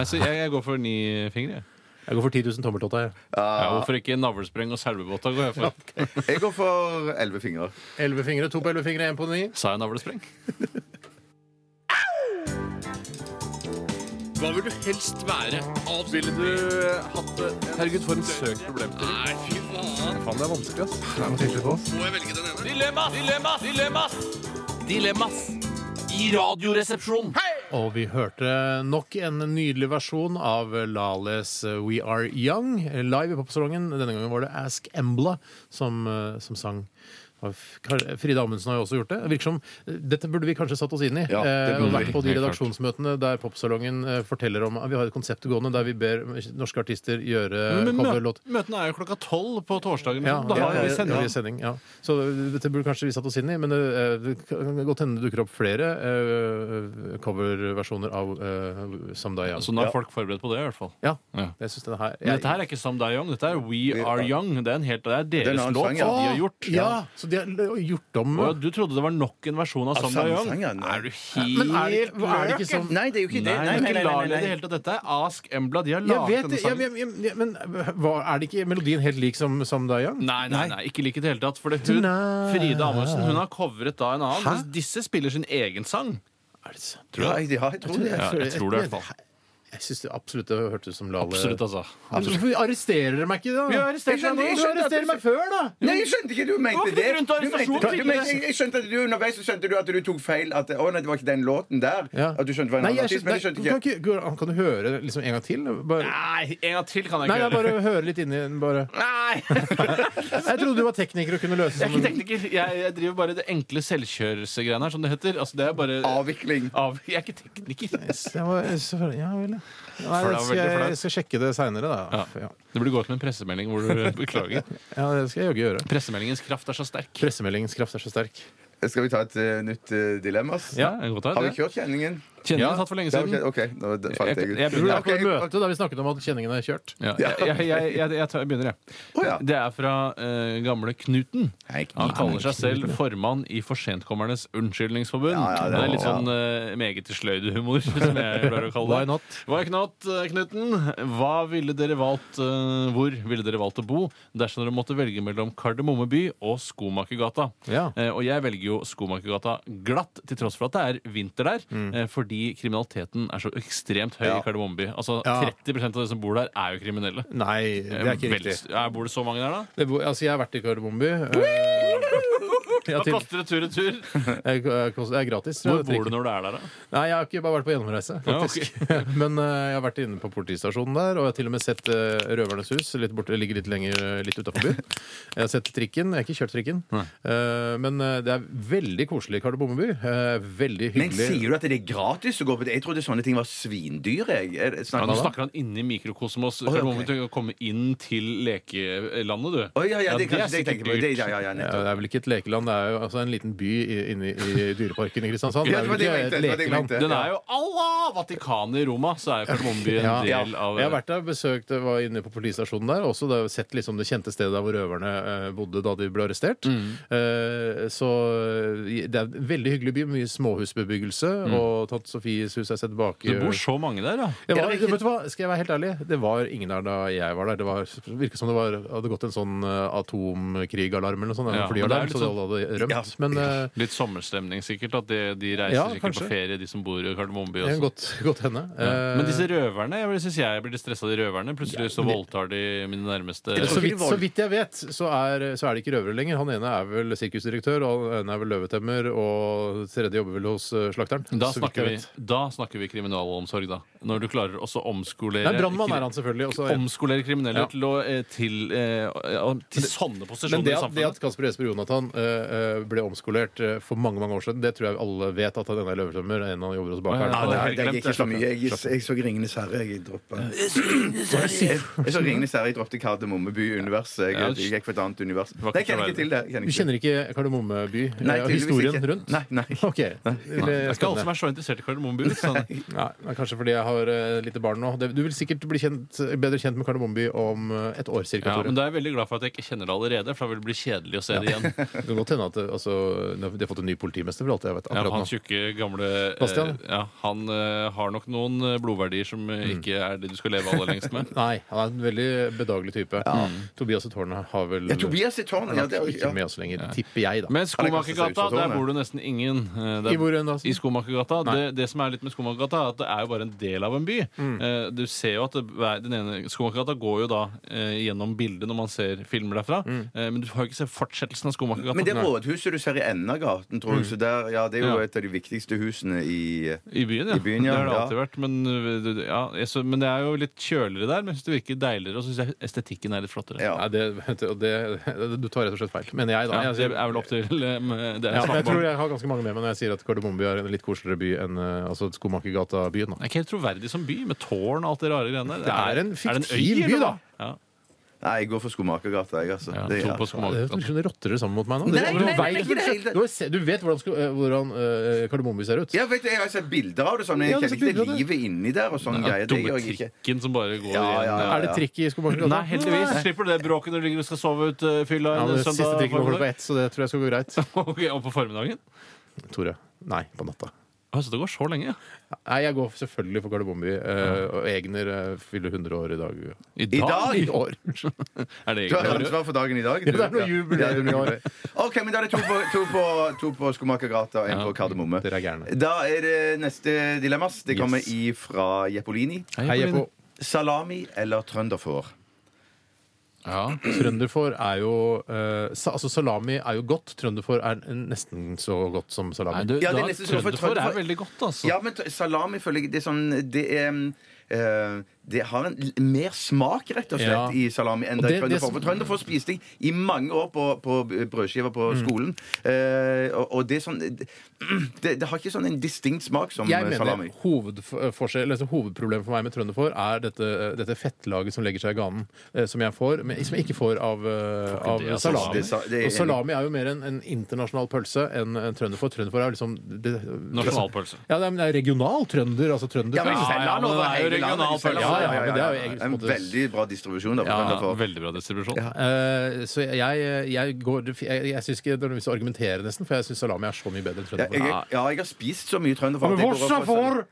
Speaker 3: Nei, så jeg, jeg går for ni fingre. jeg.
Speaker 2: Jeg går for 10 000 tommeltotter. jeg.
Speaker 3: Ja, hvorfor ikke navlespreng og selbubotta? går jeg for?
Speaker 4: Jeg går for elleve fingre.
Speaker 2: Elleve fingre. To på elleve fingre, én på ni.
Speaker 3: Sa jeg navlespreng? Hva vil du helst være? Ville du hatt det? Herregud, for en søk problemstilling. Nei, fy faen.
Speaker 2: det er vanskelig, ass.
Speaker 3: Må jeg velge den ene? Dilemmas! Dilemmas! Dilemmas! Dilemmas! I radioresepsjonen!
Speaker 2: Og vi hørte nok en nydelig versjon av Lales We Are Young live i popsalongen. Denne gangen var det Ask Embla som, eh, som sang. Og F- Kar- Frida Amundsen har jo også gjort det. Det Virker som, eh, dette burde vi kanskje satt oss inn i.
Speaker 4: Ja, det
Speaker 2: Eh,
Speaker 4: burde
Speaker 2: vært
Speaker 4: vi.
Speaker 2: på de
Speaker 3: Helt klart.
Speaker 2: redaksjonsmøtene der Popsalongen eh, forteller om Vi har et konsept gående der vi ber norske artister gjøre
Speaker 3: Men mø
Speaker 2: coverlåt.
Speaker 3: møtene er jo klokka tolv på torsdagen.
Speaker 2: Ja,
Speaker 3: da har
Speaker 2: ja,
Speaker 3: vi
Speaker 2: ja,
Speaker 3: sending.
Speaker 2: ja, vi sending, ja. Så dette burde kanskje vi satt oss inn i, men eh, det kan godt hende det dukker opp flere eh, coverversjoner av uh, Someday Young.
Speaker 3: Så Altså, nå er folk forberedt på det, i hvert fall.
Speaker 2: Ja.
Speaker 3: Ja.
Speaker 2: Jeg synes denne her,
Speaker 3: Men dette her er ikke Some Die Young, dette er We Are Young. Det er, en helt, det er
Speaker 4: er en
Speaker 3: deres
Speaker 4: annen
Speaker 3: låt
Speaker 4: sang, ja.
Speaker 3: som de har gjort.
Speaker 2: Ja, så de har l- gjort om
Speaker 3: Å, ja, du trodde det var nok en versjon av Some
Speaker 4: samme
Speaker 3: Die Young?
Speaker 4: sang, ja, nei.
Speaker 3: Er du helt
Speaker 2: Men er det, er det ikke sånn
Speaker 4: Nei, det er jo ikke
Speaker 3: Nei,
Speaker 4: det.
Speaker 3: det
Speaker 4: Nei, nei,
Speaker 3: er
Speaker 4: nei,
Speaker 3: ikke
Speaker 4: nei,
Speaker 3: Lale i det hele tatt. Dette er Ask Embla. De har
Speaker 2: jeg
Speaker 3: laget
Speaker 2: vet det,
Speaker 3: denne
Speaker 2: ja,
Speaker 3: sangen.
Speaker 2: men, men- men hva, er det ikke melodien helt lik som Someday Young?
Speaker 3: Nei, nei, nei, ikke like i det hele tatt. For det hun,
Speaker 2: Tonight.
Speaker 3: Frida Amundsen hun har covret da en annen.
Speaker 2: Hæ?
Speaker 3: mens Disse spiller sin egen sang.
Speaker 2: Er det sant?
Speaker 4: Ja, jeg, ja, jeg tror det.
Speaker 3: Ja, jeg tror det i hvert fall.
Speaker 2: Jeg syns det absolutt det hørtes ut som Lale.
Speaker 3: Absolutt, altså.
Speaker 2: Men Hvorfor arresterer dere meg ikke, da?
Speaker 3: Vi har arrestert
Speaker 2: Jeg skjønner-
Speaker 3: deg nå.
Speaker 2: Du arresterer meg før, da!
Speaker 4: Nei, jeg skjønte ikke du mente
Speaker 3: Hvorfor
Speaker 4: det.
Speaker 3: grunn til
Speaker 4: Du mente-
Speaker 3: arrestasjon?
Speaker 4: du mente- jeg, jeg skjønte at du Underveis så skjønte du at du tok feil. At å nei, det var ikke den låten der.
Speaker 2: Ja.
Speaker 4: At du skjønte det var en
Speaker 2: Nei,
Speaker 4: annen
Speaker 2: jeg
Speaker 4: artist, men jeg skjønte
Speaker 2: Kan,
Speaker 4: ikke.
Speaker 2: ikke, han kan du høre liksom en gang til? Bare,
Speaker 3: Nei, en gang til kan jeg
Speaker 2: nei,
Speaker 3: ikke
Speaker 2: jeg
Speaker 3: gjøre.
Speaker 2: bare høre litt inni den. Bare.
Speaker 3: Nei!
Speaker 2: Jeg trodde du var tekniker og kunne løse
Speaker 3: Jeg er ikke
Speaker 2: sånn-
Speaker 3: tekniker. Jeg, jeg driver bare det enkle selvkjørelsegreiene her, som det heter. Altså, det er bare
Speaker 4: Avvikling.
Speaker 3: av, Jeg er ikke tekniker.
Speaker 2: Jeg var, så- ja vel, ja. Nei,
Speaker 3: For det var
Speaker 2: skal
Speaker 3: veldig
Speaker 2: jeg,
Speaker 3: flaut.
Speaker 2: jeg skal sjekke det seinere, da. Ja.
Speaker 3: Det burde gå ut med en pressemelding hvor du beklager.
Speaker 2: ja, det skal jeg jaggu gjøre.
Speaker 3: Pressemeldingens kraft er så sterk.
Speaker 2: Pressemeldingens kraft er så sterk.
Speaker 4: Skal vi ta et eh, nytt eh, dilemma? ass?
Speaker 3: Ja, en god
Speaker 4: Har vi
Speaker 3: dag.
Speaker 4: kjørt kjenningen?
Speaker 3: Kjenner
Speaker 2: Ja,
Speaker 3: du tatt for lenge
Speaker 4: Det har vi
Speaker 3: siden?
Speaker 4: kjørt. OK, nå d- falt jeg ut.
Speaker 3: Jeg- jeg
Speaker 2: Tror du det er
Speaker 4: Ok,
Speaker 2: på et møte der vi snakket om at kjenningen er kjørt?
Speaker 3: Ja, jeg, jeg, jeg, jeg, jeg, tar- jeg begynner, jeg.
Speaker 4: Å, ja.
Speaker 3: Det er fra eh, gamle Knuten.
Speaker 4: Hei, Knut.
Speaker 3: Han kaller seg selv formann i Forsentkommernes Unnskyldningsforbund.
Speaker 4: Ja, ja, det
Speaker 3: det,
Speaker 4: er-
Speaker 3: er litt sånn eh, meget til sløydehumor, som jeg pleier å kalle det.
Speaker 2: Why not?
Speaker 3: Why not, eh, Knuten? Hva ville dere valgt, eh, hvor ville dere valgt å bo dersom dere måtte velge mellom Kardemomme by og Skomakergata?
Speaker 2: Ja.
Speaker 3: Eh, og jeg velger jo Skomakergata glatt, til tross for at det er vinter der,
Speaker 4: Mm.
Speaker 3: eh, fordi kriminaliteten er så ekstremt høy i Kardemomme by. Altså,
Speaker 2: Ja.
Speaker 3: 30 av de som bor der, er jo kriminelle. Eh,
Speaker 2: Nei, det er ikke
Speaker 3: Vel-
Speaker 2: riktig.
Speaker 3: Ja, bor det så mange der, da?
Speaker 2: Det, bo- altså, jeg har vært i Kardemommeby. eh, Ja,
Speaker 3: Hva
Speaker 2: til,
Speaker 3: koster det tur og tur?
Speaker 2: jeg, jeg, kost- det er gratis. tror
Speaker 3: Hvor
Speaker 2: jeg.
Speaker 3: bor du når du er der, da?
Speaker 2: Nei, jeg har ikke bare vært på gjennomreise, faktisk. Men eh, jeg har vært inne på politistasjonen der, og jeg har til og med sett eh, Røvernes hus. Litt borte, ligger litt lenger eh, litt utafor byen. Jeg har sett trikken. Jeg har ikke kjørt trikken. Eh, men eh, det er veldig koselig i Kardemommeby. Eh, veldig hyggelig.
Speaker 4: Men sier du at det er gratis å gå på det? Jeg trodde sånne ting var svindyr. Jeg. Er det-
Speaker 3: Ja,
Speaker 4: Snakker
Speaker 3: nå
Speaker 4: man da?
Speaker 3: snakker han inni mikrokosmos.
Speaker 4: ja,
Speaker 3: For
Speaker 4: ok.
Speaker 3: okay. Du kan komme inn til lekelandet, du.
Speaker 4: Å, ja, ja, det er
Speaker 3: sikkert
Speaker 4: kanskje det jeg tenker på. Det,
Speaker 3: dyrt.
Speaker 4: ja, ja, ja,
Speaker 2: Ja,
Speaker 4: nettopp.
Speaker 2: det er vel ikke et lekeland, det er jo altså, en liten by i- inne i i Dyreparken i Kristiansand. Det
Speaker 4: Ja,
Speaker 2: er vel
Speaker 4: det var det
Speaker 2: ikke et
Speaker 4: jeg mente, det var det jeg
Speaker 2: lekeland.
Speaker 4: mente.
Speaker 3: Den er jo Allah! Vatikanet i Roma, så er jo Kardemommeby en
Speaker 2: Ja, ja.
Speaker 3: del av
Speaker 2: Jeg har vært der, besøkt, var inne på politistasjonen der. Også da, sett liksom det kjente stedet der hvor røverne eh, bodde da de ble arrestert.
Speaker 3: Mm.
Speaker 2: Eh, så eh, det er en veldig hyggelig by. Mye småhusbebyggelse. Og Tante Sofies hus er sett bak
Speaker 3: Det Mm.
Speaker 4: øh,
Speaker 3: bor så mange der, ja.
Speaker 2: det var, vet du hva, Skal jeg være helt ærlig, det var ingen der da jeg var der. Det var, virket som det var, hadde gått en sånn eh, atomkrigalarm eller noe sånt.
Speaker 3: Ja,
Speaker 2: Ja,
Speaker 3: men det er
Speaker 2: flyalarm,
Speaker 3: litt sånn-
Speaker 2: så alle hadde rømt. Men eh,
Speaker 3: Litt sommerstemning, sikkert. At de, de reiser
Speaker 2: Ja,
Speaker 3: sikkert
Speaker 2: kanskje.
Speaker 3: på ferie, de som bor i
Speaker 2: det
Speaker 3: Kardemommeby.
Speaker 2: kan
Speaker 3: også.
Speaker 2: godt, godt hende. Eh,
Speaker 3: Men disse røverne, jeg syns jeg blir litt stressa av de røverne. Plutselig så voldtar de mine nærmeste.
Speaker 2: Så
Speaker 4: ikke de
Speaker 2: vidt,
Speaker 4: var-
Speaker 2: så vidt jeg vet, så er, så er det ikke røvere lenger. Han ene er vel sirkusdirektør, og han ene er vel løvetemmer, og tredje jobber vel hos eh, slakteren.
Speaker 3: Da
Speaker 2: så vidt jeg
Speaker 3: snakker, vi,
Speaker 2: vet.
Speaker 3: da snakker vi kriminalomsorg, da. Når du klarer også å omskolere
Speaker 2: Nei, brannmann er han selvfølgelig. Også, en-
Speaker 3: Omskolere kriminelle
Speaker 2: Ja.
Speaker 3: til, å, eh, til, eh, til sånne posisjoner
Speaker 2: men det
Speaker 3: i
Speaker 2: at, det
Speaker 3: samfunnet.
Speaker 2: at Kasper Jesper Jonathan eh, eh, ble omskolert eh, for mange mange år siden. Det tror jeg alle vet at han ene er løvetømmer, og en han jobber hos bakeren.
Speaker 3: Ja,
Speaker 4: Nei,
Speaker 3: det
Speaker 2: Og-
Speaker 3: er helt
Speaker 4: det er
Speaker 3: glemt,
Speaker 4: ikke
Speaker 3: det
Speaker 4: så
Speaker 3: slapp
Speaker 4: mye.
Speaker 3: jeg.
Speaker 4: Jeg, jeg så 'Ringenes herre'. Jeg droppa Jeg så 'Ringenes herre'. Jeg droppet Kardemommeby-universet. Jeg,
Speaker 3: Ja,
Speaker 4: jeg gikk for et annet univers.
Speaker 3: var
Speaker 4: Nei,
Speaker 3: ikke
Speaker 4: jeg kjenner
Speaker 3: så
Speaker 4: ikke til det. Jeg
Speaker 2: Du
Speaker 4: kjenner ikke.
Speaker 2: kjenner ikke Kardemomme by? eh,
Speaker 4: Nei, tydeligvis
Speaker 2: historien
Speaker 4: ikke.
Speaker 2: rundt?
Speaker 4: Nei, nei.
Speaker 2: Ok.
Speaker 3: Det
Speaker 2: Eller-
Speaker 3: er ikke alle som er så interessert i Kardemommeby. Sånn.
Speaker 2: Nei, men Kanskje fordi jeg har eh, lite barn nå. Det- Du vil sikkert bli kjent, bedre kjent med Kardemomme by om eh, et år cirka.
Speaker 3: Ja,
Speaker 2: Tore.
Speaker 3: men da er jeg veldig glad for at jeg ikke kjenner det allerede, for da vil det bli kjedelig å se det igjen.
Speaker 2: Det kan godt hende at det- altså, de har fått en ny politimester for alt jeg vet.
Speaker 3: Ja,
Speaker 2: akkurat
Speaker 3: han
Speaker 2: nå.
Speaker 3: tjukke, gamle eh,
Speaker 2: Bastian?
Speaker 3: ja, Han eh, har nok noen eh, blodverdier som eh, ikke er det du skal leve aller lengst med.
Speaker 2: Nei, han er en veldig bedagelig type. Mm. Tobias og Tårnet har vel
Speaker 4: Ja, Tobias i tårnet. Ja, det er,
Speaker 2: ikke
Speaker 4: ja.
Speaker 2: med oss lenger, tipper jeg, da.
Speaker 3: Men Skomakergata,
Speaker 4: Alexander Saus og
Speaker 3: der
Speaker 4: Tone.
Speaker 3: bor det nesten ingen. eh, der-
Speaker 2: I hvor enn da?
Speaker 3: I Skomakergata.
Speaker 2: Nei.
Speaker 3: Det, det som er litt med Skomakergata, er at det er jo bare en del av en by. Eh, Du ser jo at det, hver- den ene Skomakergata går jo da eh, gjennom bildet når man ser filmer derfra, eh, men du har jo ikke sett fortsettelsen av Skomakergata.
Speaker 4: Men det rådhuset du ser i enden av gaten, tror jeg, så der, ja, det er jo
Speaker 3: Mm. Ja.
Speaker 4: et av de viktigste husene i
Speaker 3: I byen, ja.
Speaker 4: I byen, ja.
Speaker 3: Det har det
Speaker 4: Ja.
Speaker 3: alltid vært. Men, uh, det- ja, jeg så, men det er jo litt kjøligere der. Men jeg synes det virker deiligere, og så syns jeg estetikken er litt flottere.
Speaker 4: ja.
Speaker 2: Nei, det, og det, du tar rett og slett feil, mener jeg, da.
Speaker 3: Ja,
Speaker 2: altså, Jeg
Speaker 3: det
Speaker 2: sier-
Speaker 3: er vel opp til um, det er
Speaker 2: ja, men jeg tror
Speaker 3: smakbar.
Speaker 2: jeg har ganske mange med meg når jeg sier at Kardemommeby er en litt koseligere by enn eh, altså Skomakergata-byen. da.
Speaker 3: Det er ikke helt troverdig som by, med tårn og alt det rare greiene der.
Speaker 2: Det er en
Speaker 3: det øy,
Speaker 2: fiktiv by,
Speaker 3: eller
Speaker 2: da.
Speaker 3: hva? Ja,
Speaker 4: Nei, jeg går for Skomakergata, jeg, altså.
Speaker 3: ja,
Speaker 4: Det,
Speaker 3: to
Speaker 4: ja.
Speaker 3: på
Speaker 2: Det høres ut
Speaker 3: Skomakergata.
Speaker 2: som du rotter det sammen mot meg nå.
Speaker 4: Nei,
Speaker 2: Det-
Speaker 4: nei,
Speaker 2: du
Speaker 4: nei,
Speaker 2: vei-
Speaker 4: ikke i det hele tatt.
Speaker 2: Du har se- Du vet hvordan, sko- eh, hvordan eh, Kardemommeby ser ut.
Speaker 4: Ja, vet du, Jeg har sett bilder av det, sånn, men
Speaker 2: Ja, du har
Speaker 4: jeg kjenner ikke
Speaker 2: sett bilder
Speaker 4: det
Speaker 2: av
Speaker 4: livet inni der. og sånn
Speaker 3: Ja,
Speaker 4: greier. Det
Speaker 3: dumme
Speaker 4: gjør jeg ikke.
Speaker 3: trikken som bare går
Speaker 4: Ja,
Speaker 3: igjen.
Speaker 4: ja, ja.
Speaker 2: Er det trikk i Skomakergata?
Speaker 3: Nei, heldigvis. Slipper det bråket når du ligger og skal sove ut uh, fylla
Speaker 2: Ja,
Speaker 3: en
Speaker 2: det
Speaker 3: søndag
Speaker 2: siste trikken går klokka
Speaker 3: formiddag.
Speaker 2: ett, så det tror jeg skal gå greit.
Speaker 3: Ok, og på formiddagen?
Speaker 2: Tore. Nei, på natta.
Speaker 3: Å, Så det går så lenge? ja.
Speaker 2: Nei, jeg går selvfølgelig for Kardemommeby. eh, og Egner eh, fyller 100 år i dag.
Speaker 3: I
Speaker 4: I dag?
Speaker 2: I år.
Speaker 3: Er det
Speaker 4: Du har
Speaker 3: egentlig
Speaker 4: ansvar for dagen i dag.
Speaker 2: Ja, det er noe jubileum i år.
Speaker 4: OK, men da er det to på, to på, to på Skomakergata og en
Speaker 3: Ja,
Speaker 4: på Kardemomme.
Speaker 2: Dere er gærne.
Speaker 4: Da er det neste dilemmas. Det kommer ifra Jepolini.
Speaker 2: Hei, Jeppo.
Speaker 4: Salami eller trønderfår?
Speaker 3: Ja.
Speaker 2: Trønderfår er jo eh, sa, Altså, salami er jo godt. Trønderfår er nesten så godt som
Speaker 3: Nei,
Speaker 2: salami.
Speaker 3: du,
Speaker 4: Ja, det er
Speaker 3: da,
Speaker 4: nesten som å få
Speaker 3: Trønderfor
Speaker 4: trønderfor.
Speaker 3: er veldig godt, altså.
Speaker 4: Ja, men t- salami føler jeg Det er sånn Det er eh, det har en l- mer smak rett og slett
Speaker 2: Ja.
Speaker 4: i salami enn
Speaker 2: Og det-
Speaker 4: det
Speaker 2: det
Speaker 4: trønderfår.
Speaker 2: som-
Speaker 4: For trønderfår spiste jeg i mange år på, på b- brødskiver på
Speaker 2: Mm.
Speaker 4: skolen. Eh, og, og det er sånn det, det har ikke sånn en distinkt smak som
Speaker 2: jeg
Speaker 4: eh,
Speaker 2: mener
Speaker 4: salami.
Speaker 2: hovedforskjell, altså Hovedproblemet for meg med trønderfår er dette, eh, dette fettlaget som legger seg i ganen, eh, som jeg får, men som jeg ikke får av, eh, av
Speaker 3: det er
Speaker 2: salami.
Speaker 4: Det sa- det er-
Speaker 2: og salami er jo mer en, en internasjonal pølse enn en trønderfår. Trønderfår er jo liksom det,
Speaker 3: Nasjonalpølse.
Speaker 2: Ja, det er, men det er regional trønder, altså trønder.
Speaker 4: Ja, men
Speaker 3: Ja,
Speaker 4: selger han
Speaker 3: men
Speaker 4: over
Speaker 3: det er jo
Speaker 4: hele
Speaker 3: regional
Speaker 4: landet. Selger han-
Speaker 2: pølse. Ja, ja, men det er jo egentlig på en
Speaker 4: En
Speaker 2: måte-
Speaker 4: veldig bra distribusjon. Da, for
Speaker 3: Ja,
Speaker 4: trønderfår.
Speaker 3: veldig bra distribusjon.
Speaker 2: Eh, så jeg, jeg går Jeg, jeg syns ikke det er noe vits å argumentere, nesten, for jeg syns salami er så mye bedre enn
Speaker 4: ja,
Speaker 2: trønderfår.
Speaker 4: jeg, ja, jeg har spist så mye trønderfår. at jeg går opp for-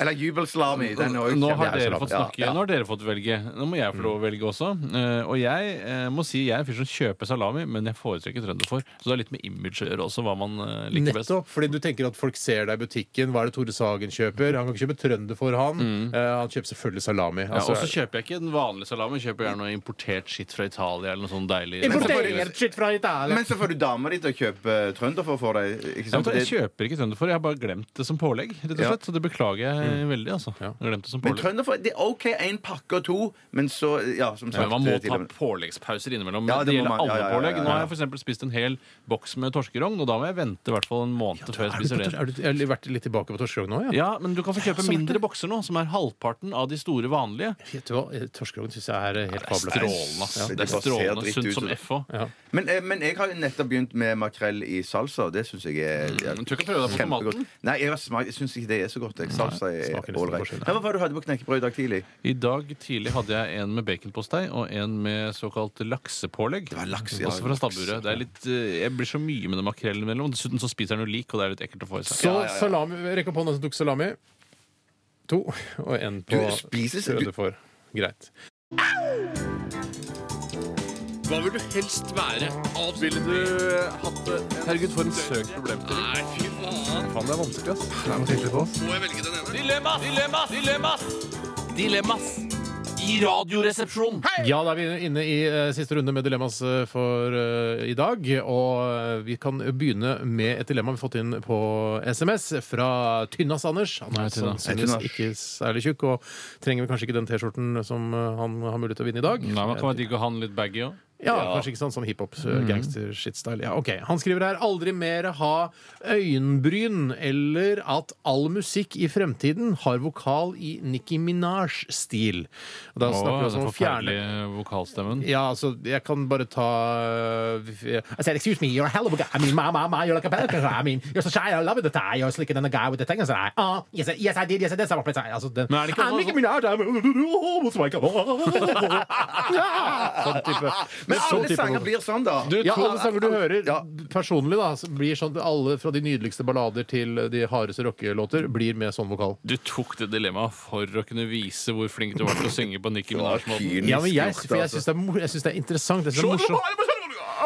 Speaker 4: Eller jubelsalami. Den er også
Speaker 3: Nå
Speaker 4: kjempe-
Speaker 3: har
Speaker 2: det er
Speaker 3: dere
Speaker 2: så
Speaker 3: fått
Speaker 4: langt. Mm.
Speaker 3: snakke. Nå har dere fått velge. Nå må jeg få lov å velge også. Eh, Og jeg eh, må si jeg er en fyr som kjøper salami, men jeg foretrekker trønderfor. Så det er litt med image å gjøre også, hva man eh, liker best.
Speaker 2: Nettopp, fordi du tenker at folk ser deg i butikken. Hva er det Tore Sagen kjøper? Han kan ikke kjøpe trønder for han. Eh, han kjøper selvfølgelig salami.
Speaker 3: Ja,
Speaker 2: Altså,
Speaker 3: og så kjøper jeg ikke den vanlige salamen. Kjøper gjerne noe importert skitt fra Italia eller noe sånn deilig
Speaker 4: Men så får du-
Speaker 2: shit fra Italia.
Speaker 4: Men så får du dama di til å kjøpe trønderfår for deg. Ikke
Speaker 3: Ja,
Speaker 4: sant?
Speaker 3: men jeg
Speaker 4: Det-
Speaker 3: kjøper ikke trønderfor. Jeg har bare glemt det som pålegg. rett og
Speaker 4: Ja. Mm.
Speaker 3: slett Så det beklager jeg veldig. altså Jeg har Glemt det som
Speaker 4: Men
Speaker 3: pålegg
Speaker 4: trønderfår Det er OK én pakke og to, men så Ja, som sagt. eh,
Speaker 3: Men man må
Speaker 4: til
Speaker 3: ta
Speaker 4: og med-
Speaker 3: påleggspauser innimellom.
Speaker 4: Ja,
Speaker 3: men
Speaker 4: det
Speaker 3: det gjelder
Speaker 4: må man. Ja,
Speaker 3: alle
Speaker 4: ja, ja,
Speaker 3: pålegg.
Speaker 4: ja, ja.
Speaker 3: Nå har jeg for eksempel spist en hel boks med torskerogn, og da må jeg vente i hvert fall en måned før jeg
Speaker 2: Er du,
Speaker 3: spiser
Speaker 2: på,
Speaker 3: det.
Speaker 2: tors- er du, jeg har vært litt tilbake på torskerogn nå, ja.
Speaker 3: Ja, men du kan få kjøpe
Speaker 2: så verdt
Speaker 3: mindre bokser nå, som er halvparten av de store vanlige.
Speaker 2: Vet du hva? Torskerogn syns jeg er helt
Speaker 3: Strålende.
Speaker 2: fabelaktig.
Speaker 3: ass.
Speaker 4: Ja.
Speaker 3: Det
Speaker 4: Det
Speaker 3: er
Speaker 4: bare ser
Speaker 3: strålende.
Speaker 4: dritt
Speaker 3: Sunt
Speaker 4: ut,
Speaker 3: som
Speaker 4: det.
Speaker 3: F òg.
Speaker 2: Ja.
Speaker 4: Men, eh, men jeg har jo nettopp begynt med makrell i salsa, og det syns jeg er ja,
Speaker 3: Men du kan prøve deg på tomaten.
Speaker 4: Nei, jeg, har smakt- jeg syns ikke det er så godt. Jeg. Salsa er
Speaker 2: smaker nesten
Speaker 4: ålreit.
Speaker 2: forskjell.
Speaker 4: Ja, Hva var det du hadde på knekkebrød i dag tidlig?
Speaker 3: I dag tidlig hadde jeg en med baconpostei og en med såkalt laksepålegg.
Speaker 4: var laks, ja,
Speaker 3: Også fra stabburet. Det er litt, eh, jeg blir så mye med den makrellen imellom. Dessuten så spiser jeg noe lik, og det er litt ekkelt å få i seg.
Speaker 2: Så salami Rekk opp hånda som tok salami. To. Og en på
Speaker 4: Du spiser- du-
Speaker 2: trønderfår. Greit.
Speaker 3: Hva vil du helst være? Ville du hatt det? Herregud, for en søk problemstilling. Nei, fy faen. Faen, det er vanskelig, ass. Må jeg velge den ene? Dilemmas! Dilemmas! Dilemmas! Dilemmas! I Radioresepsjonen!
Speaker 2: Ja, da er vi inne i eh, siste runde med Dilemmas eh, for eh, i dag. Og eh, vi kan begynne med et dilemma vi har fått inn på SMS fra Tynnas Anders. Han
Speaker 3: Hei,
Speaker 2: er
Speaker 3: Tynna.
Speaker 2: sannsynligvis
Speaker 4: Hei, Tynna.
Speaker 2: ikke særlig tjukk, og trenger vel kanskje ikke den T-skjorten som eh, han har mulighet til å vinne i dag.
Speaker 3: Nei, man kan være digg å ha den litt baggy òg.
Speaker 2: Ja,
Speaker 3: Ja. Mm.
Speaker 2: Kanskje ikke sånn som hiphop, eh, gangster-shit-style. Ja, ok. Han skriver her aldri mer ha øyenbryn eller at all musikk i fremtiden har vokal i Nicki Minaj-stil. Og Da snakker vi
Speaker 3: Å,
Speaker 2: altså
Speaker 3: den
Speaker 2: om å fjerne
Speaker 3: forferdelige vokalstemmen.
Speaker 2: ja, altså, jeg kan bare ta eh, I said, excuse me, you're a hell of a guy. I mean, my, my, my, you're like a bad guy. I mean, you're so shy, I love the tie. You're slicker than a guy with the thing. And I, oh, yes, I- yes, I did, yes, I did. Samme plass. Altså, den,
Speaker 3: Men er det ikke
Speaker 2: I'm
Speaker 3: noe
Speaker 2: Nicki
Speaker 3: sånn-
Speaker 2: Minaj, I'm- Ja! Sånn type.
Speaker 4: Men
Speaker 2: sånn
Speaker 4: alle
Speaker 2: type
Speaker 4: sanger
Speaker 2: vokalist.
Speaker 4: blir sånn, da.
Speaker 2: Du, ja, alle sanger du hører
Speaker 4: Ja.
Speaker 2: personlig, da, så blir sånn alle fra de nydeligste ballader til de hardeste rockelåter, blir med sånn vokal.
Speaker 3: Du tok det dilemmaet for å kunne vise hvor flink du var til å synge på Nicki Minaj-måten.
Speaker 4: Kynisk
Speaker 2: Ja, men jeg,
Speaker 4: gjort,
Speaker 2: for jeg
Speaker 4: altså.
Speaker 2: syns det, er mor- jeg synes det er interessant. Jeg synes det er morsomt.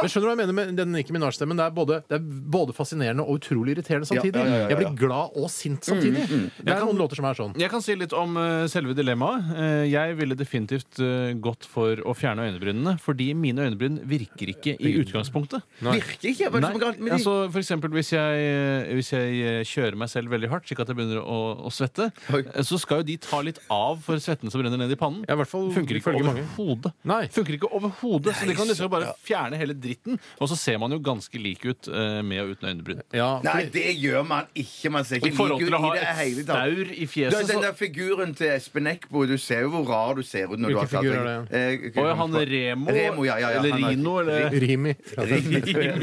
Speaker 2: Men skjønner du hva jeg mener med den Nicki Minaj-stemmen? Det, er både- det er både fascinerende og utrolig irriterende samtidig.
Speaker 4: ja, ja, ja, Mm, ja.
Speaker 2: Jeg blir glad og sint samtidig. Det er noen låter som er sånn.
Speaker 3: Jeg kan si litt om eh, selve dilemmaet. Eh, jeg ville definitivt eh, gått for å fjerne øynebrynene, fordi mine øynebryn virker ikke i utgangspunktet.
Speaker 4: Virker ikke? Hva er det som er galt med de?
Speaker 3: altså, for eksempel hvis jeg, eh, hvis jeg eh, kjører meg selv veldig hardt, slik at jeg begynner å, å svette,
Speaker 4: Oi.
Speaker 3: eh, så skal jo de ta litt av for svetten som renner ned i pannen.
Speaker 2: Ja, i hvert fall
Speaker 3: Funker ikke
Speaker 2: ifølge mange.
Speaker 3: overhodet.
Speaker 2: Nei.
Speaker 3: Funker ikke overhodet. Så de kan liksom bare fjerne hele dritten, og så ser man jo ganske lik ut eh, med og uten øynebryn.
Speaker 2: Ja,
Speaker 4: Nei,
Speaker 2: fordi-
Speaker 4: det gjør man ikke. Man ser
Speaker 3: I
Speaker 4: ikke
Speaker 3: forhold
Speaker 4: lik ut
Speaker 3: til å
Speaker 4: i
Speaker 3: ha
Speaker 4: det hele
Speaker 3: et
Speaker 4: tatt.
Speaker 3: staur i
Speaker 4: Du,
Speaker 3: fjeset,
Speaker 4: den
Speaker 3: så
Speaker 4: der figuren til Espen Eckbo, du ser jo hvor rar du ser ut når
Speaker 2: Hvilken
Speaker 4: du har
Speaker 2: figur
Speaker 4: tatt
Speaker 2: er det?
Speaker 4: deg-
Speaker 3: Å
Speaker 4: Eh,
Speaker 3: ja, han Remo,
Speaker 4: Remo, ja, ja, ja,
Speaker 3: eller
Speaker 4: han er-
Speaker 3: Rino eller
Speaker 2: Rimi.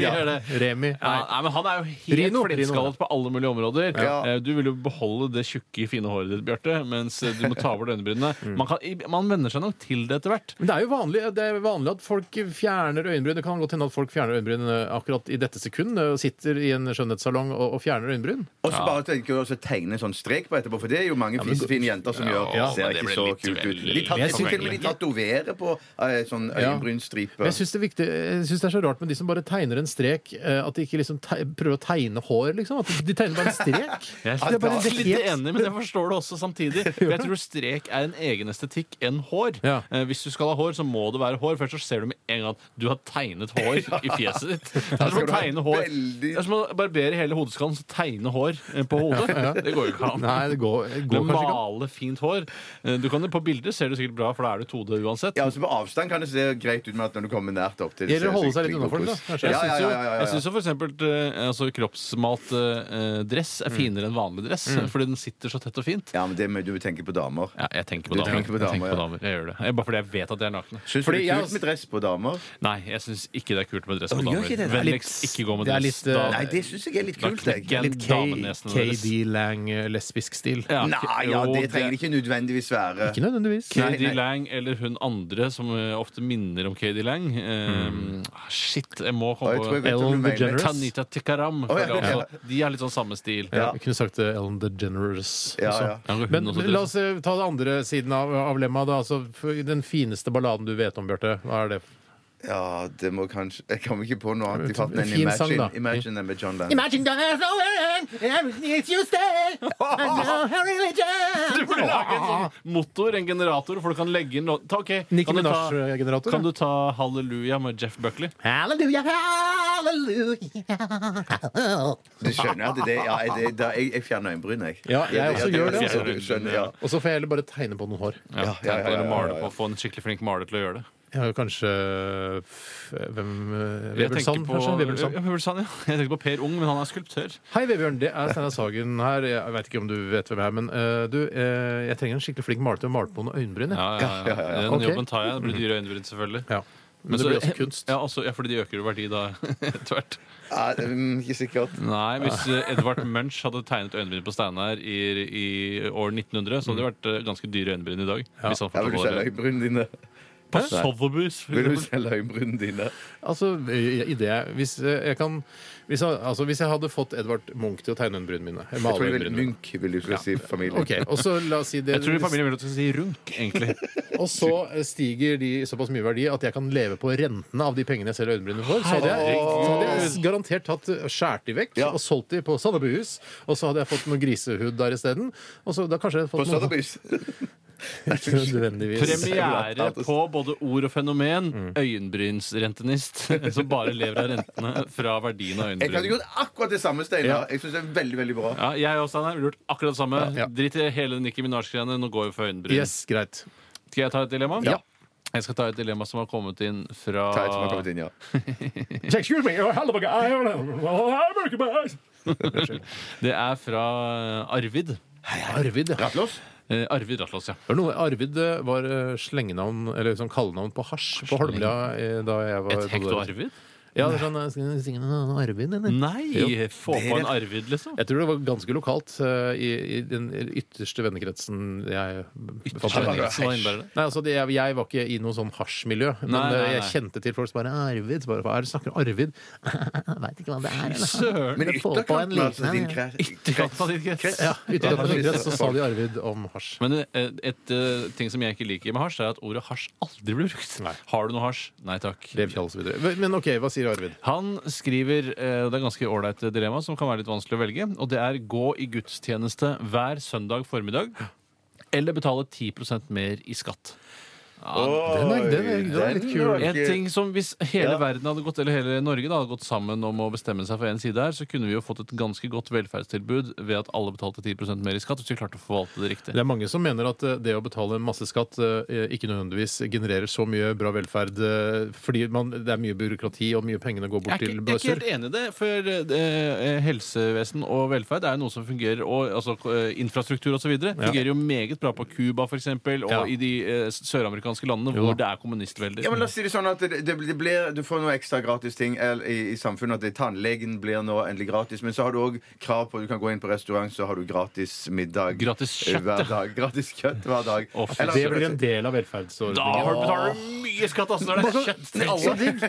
Speaker 2: Ja.
Speaker 3: Ja.
Speaker 2: Remi. Nei.
Speaker 3: Ja, nei, men Han er jo helt
Speaker 2: Rino, Rino.
Speaker 3: flintskallet på alle mulige områder.
Speaker 4: Ja.
Speaker 3: Eh, Du vil jo beholde det tjukke, fine håret ditt, Bjarte, mens du må ta over øyenbrynene.
Speaker 4: Mm.
Speaker 3: Man, kan- i- man venner seg nok til det etter hvert.
Speaker 2: Men det er jo vanlig, det er vanlig at folk fjerner øyenbryn. Det kan godt hende at folk fjerner øyenbryn eh, akkurat i dette sekund. eh, Og sitter i en skjønnhetssalong og, og fjerner øyenbryn.
Speaker 4: Og så bare tenker jeg også å tegne en sånn strek på etterpå, for det er jo mange fisefine jenter som gjør.
Speaker 2: ja,
Speaker 4: ser
Speaker 3: men det
Speaker 4: ikke
Speaker 3: blir
Speaker 4: så
Speaker 3: litt
Speaker 4: kult ut.
Speaker 3: vel-
Speaker 4: De tat-
Speaker 2: Men jeg
Speaker 4: jeg synes til og med de
Speaker 2: synes-
Speaker 4: tatoverer på eh, sånn
Speaker 2: Ja.
Speaker 4: øyenbrynstripe.
Speaker 2: Men jeg syns det, er viktig- jeg synes det er så rart med de som bare tegner en strek. eh, At de ikke liksom te prøver å tegne hår, liksom. At de tegner bare en strek.
Speaker 3: Jeg
Speaker 2: Det er bare
Speaker 3: er
Speaker 2: helt-
Speaker 3: litt enig, men jeg forstår det også samtidig. For jeg tror strek er en egen estetikk enn hår.
Speaker 2: Ja.
Speaker 3: Eh, Hvis du skal ha hår, så må det være hår. Først så ser du med en gang at du har tegnet hår i fjeset ditt. Det er som å
Speaker 4: du ha
Speaker 3: tegne hår.
Speaker 4: veldig-
Speaker 3: Det er som å barbere hele hodeskallen så tegne hår eh, på
Speaker 2: Ja, ja.
Speaker 3: hodet. Det går jo ikke an.
Speaker 2: Nei, det går, det
Speaker 3: Du
Speaker 2: går kanskje ikke. an.
Speaker 3: male fint hår. Eh, Du kan, på bilder ser det sikkert bra, for da er du todød uansett.
Speaker 4: Ja, altså På avstand kan det se greit ut, men at når du kommer nært opp til det,
Speaker 2: Eller
Speaker 4: ser det
Speaker 2: holde seg
Speaker 4: skikkelig
Speaker 2: litt unna folk,
Speaker 4: kokos.
Speaker 2: da, kanskje.
Speaker 4: Ja,
Speaker 3: Jeg
Speaker 4: ja,
Speaker 3: syns
Speaker 4: ja,
Speaker 3: jo,
Speaker 4: ja, ja,
Speaker 3: jeg
Speaker 4: ja.
Speaker 3: synes jo for eksempel eh, altså, kroppsmalt eh, dress
Speaker 2: Mm.
Speaker 3: er finere enn vanlig dress, fordi den sitter så tett og fint.
Speaker 4: ja, men det må du tenke på damer.
Speaker 3: Ja, jeg tenker på
Speaker 4: Du
Speaker 3: damer.
Speaker 4: tenker på
Speaker 3: jeg tenker på
Speaker 4: damer, ja.
Speaker 3: damer. Jeg gjør det. Jeg, bare fordi jeg vet at de er nakne.
Speaker 4: Syns du
Speaker 2: Fordi
Speaker 4: det
Speaker 2: jeg
Speaker 4: er
Speaker 2: også-
Speaker 4: kult med dress på damer?
Speaker 3: Nei, jeg syns ikke det er kult med dress på
Speaker 4: Å, gjør
Speaker 3: damer.
Speaker 4: ikke det? Det er
Speaker 2: litt-
Speaker 3: Vennligst ikke gå med
Speaker 2: det er
Speaker 3: dress.
Speaker 2: litt, eh,
Speaker 4: Nei, det syns jeg er litt kult.
Speaker 3: knekker
Speaker 4: Jeg.
Speaker 3: jeg.
Speaker 2: Litt
Speaker 3: Damenesene
Speaker 2: K-
Speaker 3: deres.
Speaker 2: KD Lang eh, lesbisk stil.
Speaker 3: Ja,
Speaker 4: Nei, ja,
Speaker 3: jo,
Speaker 4: det trenger ikke nødvendigvis være
Speaker 2: Ikke nødvendigvis.
Speaker 4: Nei,
Speaker 3: KD
Speaker 4: nei.
Speaker 3: Lang eller hun andre som eh, ofte minner om KD Lang. Eh, ah, Shit, jeg må
Speaker 4: Å,
Speaker 3: komme
Speaker 4: Mm. jeg tror
Speaker 3: på
Speaker 4: jeg vet hvem du
Speaker 2: Ellen
Speaker 4: mener.
Speaker 2: DeGeneres.
Speaker 3: Tanita Tikaram.
Speaker 4: Å, ja,
Speaker 3: føler jeg
Speaker 4: ja.
Speaker 3: også. De er litt sånn samme stil.
Speaker 2: Ja. Jeg kunne sagt eh, Ellen DeGeneres.
Speaker 4: Ja,
Speaker 2: også.
Speaker 4: ja.
Speaker 3: Ja, hun
Speaker 2: Men
Speaker 3: også,
Speaker 2: la oss eh, ta det andre siden av, av lemma. Da. Altså, for den fineste balladen du vet om, Bjarte. Hva er det?
Speaker 4: Ja, det må kanskje Jeg kommer ikke på noe annet i farten enn
Speaker 2: Fin sang,
Speaker 4: Imagine.
Speaker 2: da.
Speaker 4: Imagine den med John Lennon.
Speaker 2: Imagine there's no end, everything is you say, and no
Speaker 3: Du
Speaker 2: religion.
Speaker 3: burde lage en sånn motor, en generator, for du kan legge inn låt. Ta, ok,
Speaker 2: Nicki
Speaker 3: kan du ta-
Speaker 2: Minaj-generator,
Speaker 3: Kan
Speaker 2: ja.
Speaker 3: du ta Halleluja med Jeff Buckley?
Speaker 2: Halleluja, halleluja.
Speaker 4: Du skjønner at det ja, er det, da, jeg, jeg fjerner øyenbryn, jeg.
Speaker 2: Ja, jeg også
Speaker 4: det-
Speaker 2: gjør det,
Speaker 4: så du
Speaker 3: altså.
Speaker 4: skjønner, ja.
Speaker 2: Og så får jeg heller bare tegne på noen hår.
Speaker 3: Ja,
Speaker 4: ja, ja,
Speaker 3: tenk på å
Speaker 4: ja, ja,
Speaker 3: male
Speaker 4: ja.
Speaker 3: på- Få en skikkelig flink maler til å gjøre det.
Speaker 2: Jeg har jo kanskje f- Hvem eh,
Speaker 3: Jeg tenker
Speaker 2: Vebjørn Sand,
Speaker 3: på-
Speaker 2: kanskje? Vebjørn Sand.
Speaker 3: Ja, Vebjørn Sand, ja. Jeg tenker på Per Ung, men han er skulptør.
Speaker 2: Hei, Vebjørn. Det er Steinar Sagen her. Jeg vet ikke om du vet hvem jeg er, men eh, du, eh, jeg trenger en skikkelig flink maler til å male på noen øyenbryn. jeg.
Speaker 3: Ja, ja, ja. Den
Speaker 2: Ok.
Speaker 3: jobben tar jeg. Det blir dyre øyenbryn, selvfølgelig.
Speaker 2: Ja. Men, det
Speaker 3: så-
Speaker 2: blir også kunst.
Speaker 3: Ja, også, ja, fordi de øker jo verdi da etter hvert.
Speaker 4: Ja, mm, ikke sikkert.
Speaker 3: Nei, hvis eh, Edvard Munch hadde tegnet øyenbryn på Steinar i, i år 1900, så hadde det vært eh, ganske dyre øyenbryn i dag. Hvis han
Speaker 4: Ja, vil du
Speaker 3: fortsatt
Speaker 4: selge
Speaker 3: var det.
Speaker 4: øyenbrynene dine?
Speaker 3: På Sotheby's, for
Speaker 4: Vil du
Speaker 3: eksempel.
Speaker 4: selge øyenbrynene dine?
Speaker 2: Altså, eh, i det jeg- hvis eh, jeg kan hvis, jeg- altså, hvis jeg hadde fått Edvard Munch til å tegne øyenbrynene mine jeg
Speaker 4: Jeg
Speaker 2: maler
Speaker 4: tror jeg vil
Speaker 2: øyenbrynene mine.
Speaker 4: Munch, vil du skal si. Familien.
Speaker 2: Ok, og så la oss si det
Speaker 3: Jeg tror familien vil at du skal si runk, egentlig.
Speaker 2: Og så eh, stiger de såpass mye verdi at jeg kan leve på rentene av de pengene jeg selger øyenbrynene for. Så hadde jeg, så hadde jeg s- garantert tatt eh, skjært de vekk
Speaker 4: Ja.
Speaker 2: og solgt de på Sandebuhus. Og så hadde jeg fått noe grisehud der isteden. Og så da kanskje jeg hadde
Speaker 4: På
Speaker 2: fått noe
Speaker 4: Sotheby's.
Speaker 2: Ikke nødvendigvis.
Speaker 3: Premiere på både ord og fenomen. Øyenbrynsrentenist. Som bare lever av rentene fra verdien av
Speaker 4: Jeg hadde
Speaker 3: øyenbryn.
Speaker 4: gjort akkurat det samme, Steinar. Jeg syns det er veldig, veldig bra.
Speaker 3: Ja, jeg og Steinar ville gjort akkurat det samme.
Speaker 2: Ja, ja.
Speaker 3: Drit i hele Nicki Minaj-greiene. Nå går vi for øyenbryn.
Speaker 2: Yes, greit.
Speaker 3: Skal jeg ta et dilemma?
Speaker 2: Ja.
Speaker 3: Jeg skal ta et dilemma som har kommet inn fra
Speaker 4: Ta et som har kommet inn, ja.
Speaker 2: Excuse me, oh, hello, I don't know. Oh, I'm working back.
Speaker 3: Det er fra eh, Arvid.
Speaker 2: Arvid, ja.
Speaker 4: Rattlås?
Speaker 3: Eh, Arvid Ratlås, ja.
Speaker 2: Det var noe, Arvid eh, var eh, slengenavn, eller sånn kallenavn på hasj på Holmlia eh, da jeg var
Speaker 3: Et hekto Arvid?
Speaker 2: Ja, det er sånn, eh, skal vi synge noe om Arvid, eller?
Speaker 3: Nei! Få på en Arvid, liksom.
Speaker 2: Jeg tror det var ganske lokalt eh, i, i den ytterste vennekretsen jeg befant
Speaker 3: Hva
Speaker 2: meg i.
Speaker 3: innebærer det?
Speaker 2: Nei, altså, det, jeg, jeg var ikke i noe sånn hasjmiljø, men
Speaker 3: Nei, nei,
Speaker 2: eh, jeg
Speaker 3: nei.
Speaker 2: kjente til folk som bare Arvid. Så bare, hva er det du snakker om? Arvid? Veit ikke hva det er. eller?
Speaker 3: Søren!
Speaker 4: Men
Speaker 2: Men få på en
Speaker 4: ytterkanten, altså.
Speaker 2: liten
Speaker 4: Din
Speaker 2: en,
Speaker 4: krets.
Speaker 3: Ytterkanten av din krets.
Speaker 4: krets.
Speaker 2: Ja, uten at
Speaker 4: Ja,
Speaker 2: det var
Speaker 4: visst.
Speaker 2: så sa
Speaker 3: sånn.
Speaker 2: de Arvid om hasj.
Speaker 3: Men eh, et eh, ting som jeg ikke liker med hasj, er at ordet hasj aldri blir brukt.
Speaker 2: Nei.
Speaker 3: Har du noe hasj? Nei takk.
Speaker 2: Revkjall og så videre. Men OK, hva sier Arvid?
Speaker 3: Han skriver eh, Det er ganske ålreit dilemma som kan være litt vanskelig å velge. Og det er gå i gudstjeneste hver søndag formiddag. Eller betale 10 mer i skatt.
Speaker 2: Den er- den er- den er litt kul.
Speaker 3: En ting som Hvis hele
Speaker 4: Ja.
Speaker 3: verden hadde gått eller hele Norge da, hadde gått sammen om å bestemme seg for én side her, så kunne vi jo fått et ganske godt velferdstilbud ved at alle betalte 10 mer i skatt. Hvis vi klarte å forvalte det riktig.
Speaker 2: Det er mange som mener at eh, det å betale masse skatt eh, ikke nødvendigvis genererer så mye bra velferd eh, fordi man, det er mye byråkrati og mye pengene går bort
Speaker 3: Jeg er,
Speaker 2: til
Speaker 3: ikke, jeg er
Speaker 2: bøsser.
Speaker 3: ikke helt enig i det, for eh, helsevesen og velferd er jo noe som fungerer. Og altså, eh, infrastruktur osv. videre fungerer jo meget bra på Cuba for eksempel, og
Speaker 2: Ja.
Speaker 3: i de eh, søramerikanske landene
Speaker 2: Jo da.
Speaker 3: hvor det er kommunistvelder.
Speaker 4: Ja, men la oss si det sånn at det, det det blir, Du får noe ekstra gratis ting el- i, i samfunnet. At det, tannlegen blir nå endelig gratis. Men så har du òg krav på Du kan gå inn på restaurant, så har du gratis middag
Speaker 3: Gratis kjøtt,
Speaker 4: hver dag. Gratis kjøtt hver dag.
Speaker 3: Å, fy,
Speaker 4: Eller-
Speaker 2: Det blir en del av
Speaker 3: altså, da har du
Speaker 2: velferdsordningen.
Speaker 3: betaler du mye skatt, altså! Når det er kjøtt til
Speaker 2: Så
Speaker 3: alle!
Speaker 2: digg!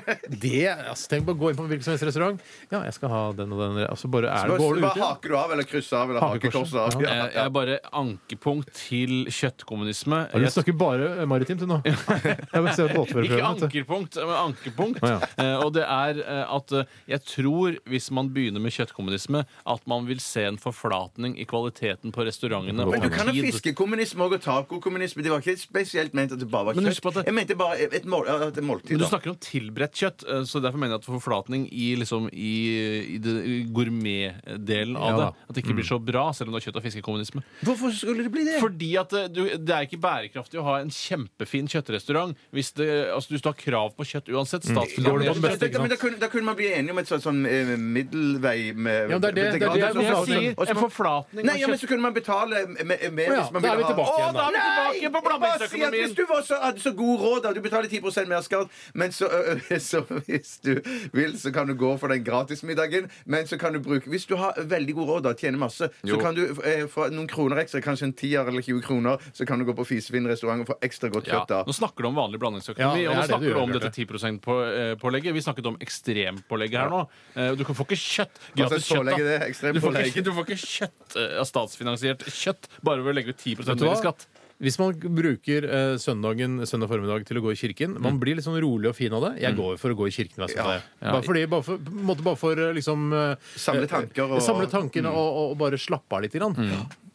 Speaker 2: Det, altså, tenk på å gå inn på en hvilken som helst restaurant. Ja, jeg skal ha den og den. Og så bare er det,
Speaker 4: Hva
Speaker 2: går du ut
Speaker 4: hva
Speaker 2: igjen.
Speaker 4: haker du av, eller krysser av, eller
Speaker 2: Hakekorset.
Speaker 4: hakekorset av?
Speaker 2: Ja.
Speaker 3: Eh, Jeg, jeg er bare ankepunkt til kjøttkommunisme.
Speaker 2: Du
Speaker 3: Jeg
Speaker 2: snakker bare maritimt, du nå. Jeg vil se et båtførerprøve,
Speaker 3: Ikke
Speaker 2: vet du.
Speaker 3: ankerpunkt, men ankepunkt.
Speaker 2: Å,
Speaker 3: Eh, og det er eh, at eh, jeg tror, hvis man begynner med kjøttkommunisme, at man vil se en forflatning i kvaliteten på restaurantene.
Speaker 2: Men
Speaker 4: Men
Speaker 3: over
Speaker 4: du kan ha
Speaker 3: tid.
Speaker 4: fiskekommunisme og tacokommunisme. Det var ikke spesielt ment at det bare var
Speaker 3: Men husk på
Speaker 4: kjøtt.
Speaker 3: at det-
Speaker 4: Jeg mente bare et, mål, et måltid.
Speaker 3: Men du
Speaker 4: da.
Speaker 3: snakker om tilberedt kjøtt, eh, så derfor mener jeg at forflatning i, liksom, i, i det- i gourmetdelen av
Speaker 2: Ja da. Mm.
Speaker 3: det At det ikke blir så bra, selv om det er kjøtt- og fiskekommunisme.
Speaker 4: Hvorfor skulle det bli det?
Speaker 3: Fordi at eh, du, det er ikke bærekraftig å ha en kjempefin kjøttrestaurant hvis, det, altså, hvis du har krav på kjøtt uansett.
Speaker 2: Mm. Går det på den
Speaker 3: Statsfinansiert
Speaker 2: beste,
Speaker 3: kjøtt.
Speaker 2: ikke
Speaker 4: Da, men da, kunne, da kunne man bli enige om et sånt sånn, eh, middelvei med
Speaker 2: Ja, men det er det- det er
Speaker 3: Det er det jeg
Speaker 2: Forflatning.
Speaker 3: sier. En forflatning
Speaker 4: Nei,
Speaker 3: av
Speaker 4: ja, men
Speaker 3: kjøtt.
Speaker 4: så kunne man betale med, med, med
Speaker 2: Å ja,
Speaker 4: hvis man
Speaker 2: da er vi
Speaker 4: ville ha
Speaker 2: tilbake igjen, da.
Speaker 3: Å, da er vi tilbake på
Speaker 4: Nei! Jeg bare sier at
Speaker 3: blandingsøkonomien.
Speaker 4: Hvis du var så, hadde så god råd, da, du betaler 10 mer skatt, men så, ø, ø, så hvis du vil, så kan du gå for den gratismiddagen, men så kan du bruke Hvis du har veldig god råd, da, tjener masse,
Speaker 3: Jo.
Speaker 4: så kan du eh, få noen kroner ekstra, kanskje en tier eller 20 kroner, så kan du gå på Fisvinn restaurant og få ekstra godt
Speaker 3: Ja,
Speaker 4: kjøtt da.
Speaker 3: nå snakker du om vanlig
Speaker 2: Ja,
Speaker 3: blandingsøkonomi,
Speaker 2: det
Speaker 3: og
Speaker 2: er
Speaker 3: nå
Speaker 2: det
Speaker 3: snakker
Speaker 2: du
Speaker 3: du
Speaker 2: gjør,
Speaker 3: om dette
Speaker 2: Bjarte.
Speaker 3: 10 eh, %-pålegget. Vi snakket om ekstrempålegget her nå. Eh, Du kan- får ikke kjøtt. Gratis
Speaker 4: Altså,
Speaker 3: kjøtt.
Speaker 4: pålegget,
Speaker 3: da.
Speaker 4: det er ekstremt
Speaker 3: Du får
Speaker 4: pålegg.
Speaker 3: ikke, du får ikke kjøtt eh, av statsfinansiert kjøtt bare ved å legge ut 10
Speaker 2: Vet du
Speaker 3: mer i
Speaker 2: hva?
Speaker 3: skatt.
Speaker 2: Hvis man bruker eh, søndagen, søndag formiddag til å gå i kirken Man blir litt sånn rolig og fin av det. Jeg går for å gå i kirken. Altså,
Speaker 4: Ja.
Speaker 3: Mm. Ja.
Speaker 2: Bare, fordi, bare for, på en måte bare for eh, liksom eh,
Speaker 4: Samle tanker og- Mm.
Speaker 2: eh, Samle tankene og, og, og bare slappe av litt. Grann.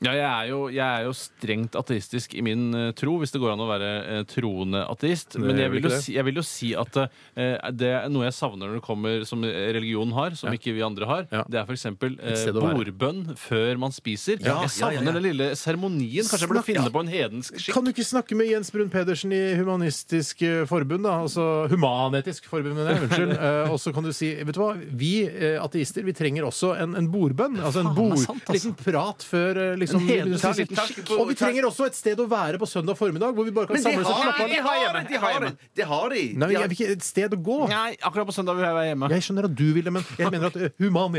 Speaker 3: Ja, jeg er, jo, jeg er jo strengt ateistisk i min eh, tro, hvis det går an å være eh, troende ateist. Men jeg
Speaker 2: gjør
Speaker 3: vil,
Speaker 2: ikke
Speaker 3: jo
Speaker 2: det.
Speaker 3: si, jeg vil jo si at eh, det er noe jeg savner når det kommer som religionen har, som ikke vi andre har.
Speaker 2: Ja.
Speaker 3: Det er f.eks. Eh,
Speaker 2: sted å være.
Speaker 3: bordbønn før man spiser.
Speaker 4: Ja,
Speaker 3: jeg savner
Speaker 4: ja, ja, ja.
Speaker 3: den lille seremonien. Kanskje jeg burde
Speaker 2: Snakk-
Speaker 3: finne på en hedensk skikk.
Speaker 2: Kan du ikke snakke med Jens Brun Pedersen i Humanistisk eh, Forbund, da? Altså Human-Etisk Forbund, mener jeg. Unnskyld. Eh, og så kan du si Vet du hva, vi eh, ateister vi trenger også en, en bordbønn. Altså en
Speaker 3: Faen, det er
Speaker 2: bord,
Speaker 3: sant, altså.
Speaker 2: liten prat før eh, liksom,
Speaker 3: En
Speaker 2: vi begynner å
Speaker 3: hederssak,
Speaker 2: si-
Speaker 3: liten skikk.
Speaker 2: Og vi trenger også et sted å være på søndag formiddag, hvor vi bare kan
Speaker 4: Men de
Speaker 2: samles og
Speaker 4: har,
Speaker 2: slappe av.
Speaker 4: de har det! De har det! De har det.
Speaker 2: Nei,
Speaker 4: De
Speaker 2: jeg
Speaker 4: har-
Speaker 2: vil ikke et sted å gå.
Speaker 3: Nei, akkurat på søndag vil jeg være hjemme.
Speaker 2: Jeg skjønner at du vil det, men jeg mener at eh,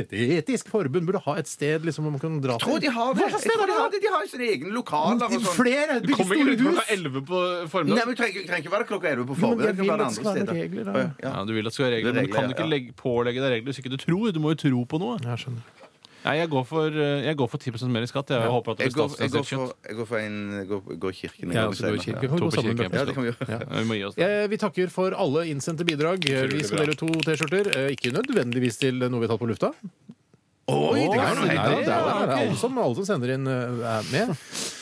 Speaker 2: Human-Etisk Forbund burde ha et sted liksom, hvor man kan dra
Speaker 4: Jeg tror de har det.
Speaker 2: Hva slags sted
Speaker 4: Jeg tror
Speaker 2: er
Speaker 4: de
Speaker 2: det?
Speaker 4: har det. De har jo sine egne lokaler og sånn.
Speaker 2: Flere!
Speaker 3: Du
Speaker 2: Bygge
Speaker 3: kommer ikke
Speaker 2: store
Speaker 3: ut klokka
Speaker 2: hus!
Speaker 3: 11 på
Speaker 4: Nei,
Speaker 3: formiddag.
Speaker 4: men Du trenger, trenger ikke være klokka 11 på
Speaker 2: Jo, men
Speaker 4: formiddagen.
Speaker 2: jeg
Speaker 4: det kan
Speaker 2: vil
Speaker 4: være
Speaker 2: at det skal
Speaker 4: andre
Speaker 2: være
Speaker 4: steder.
Speaker 2: regler, da.
Speaker 4: Ja.
Speaker 3: Ja, Du vil at det skal være
Speaker 4: Det
Speaker 3: regler,
Speaker 4: er
Speaker 3: men du kan
Speaker 4: regler,
Speaker 3: ikke
Speaker 4: ja.
Speaker 3: legge, pålegge deg regler hvis ikke du tror. Du må jo tro på noe.
Speaker 2: Jeg skjønner.
Speaker 3: Nei, Jeg går for, eh, jeg går for 10 mer i skatt. Jeg håper at det
Speaker 4: Jeg
Speaker 3: blir
Speaker 4: går, jeg går
Speaker 3: statsfinansiert
Speaker 4: for,
Speaker 3: kjøtt.
Speaker 4: jeg går for en går, går
Speaker 2: Jeg
Speaker 4: kirken. går
Speaker 2: også går i kirke.
Speaker 4: senere.
Speaker 2: Kan vi
Speaker 3: To
Speaker 2: gå
Speaker 3: på
Speaker 2: sammen,
Speaker 3: kirke, en på
Speaker 2: Bjarte?
Speaker 4: Ja, det kan vi gjøre.
Speaker 3: Ja, vi må gi oss.
Speaker 2: Eh, Vi takker for alle innsendte bidrag. Eh, Vi skal dele ut to T-skjorter. eh, Ikke nødvendigvis til noe vi har tatt på lufta.
Speaker 4: Oi, det
Speaker 2: Nei, det
Speaker 4: kan jo hende.
Speaker 2: er det er alle som, alle som sender inn, eh, er med.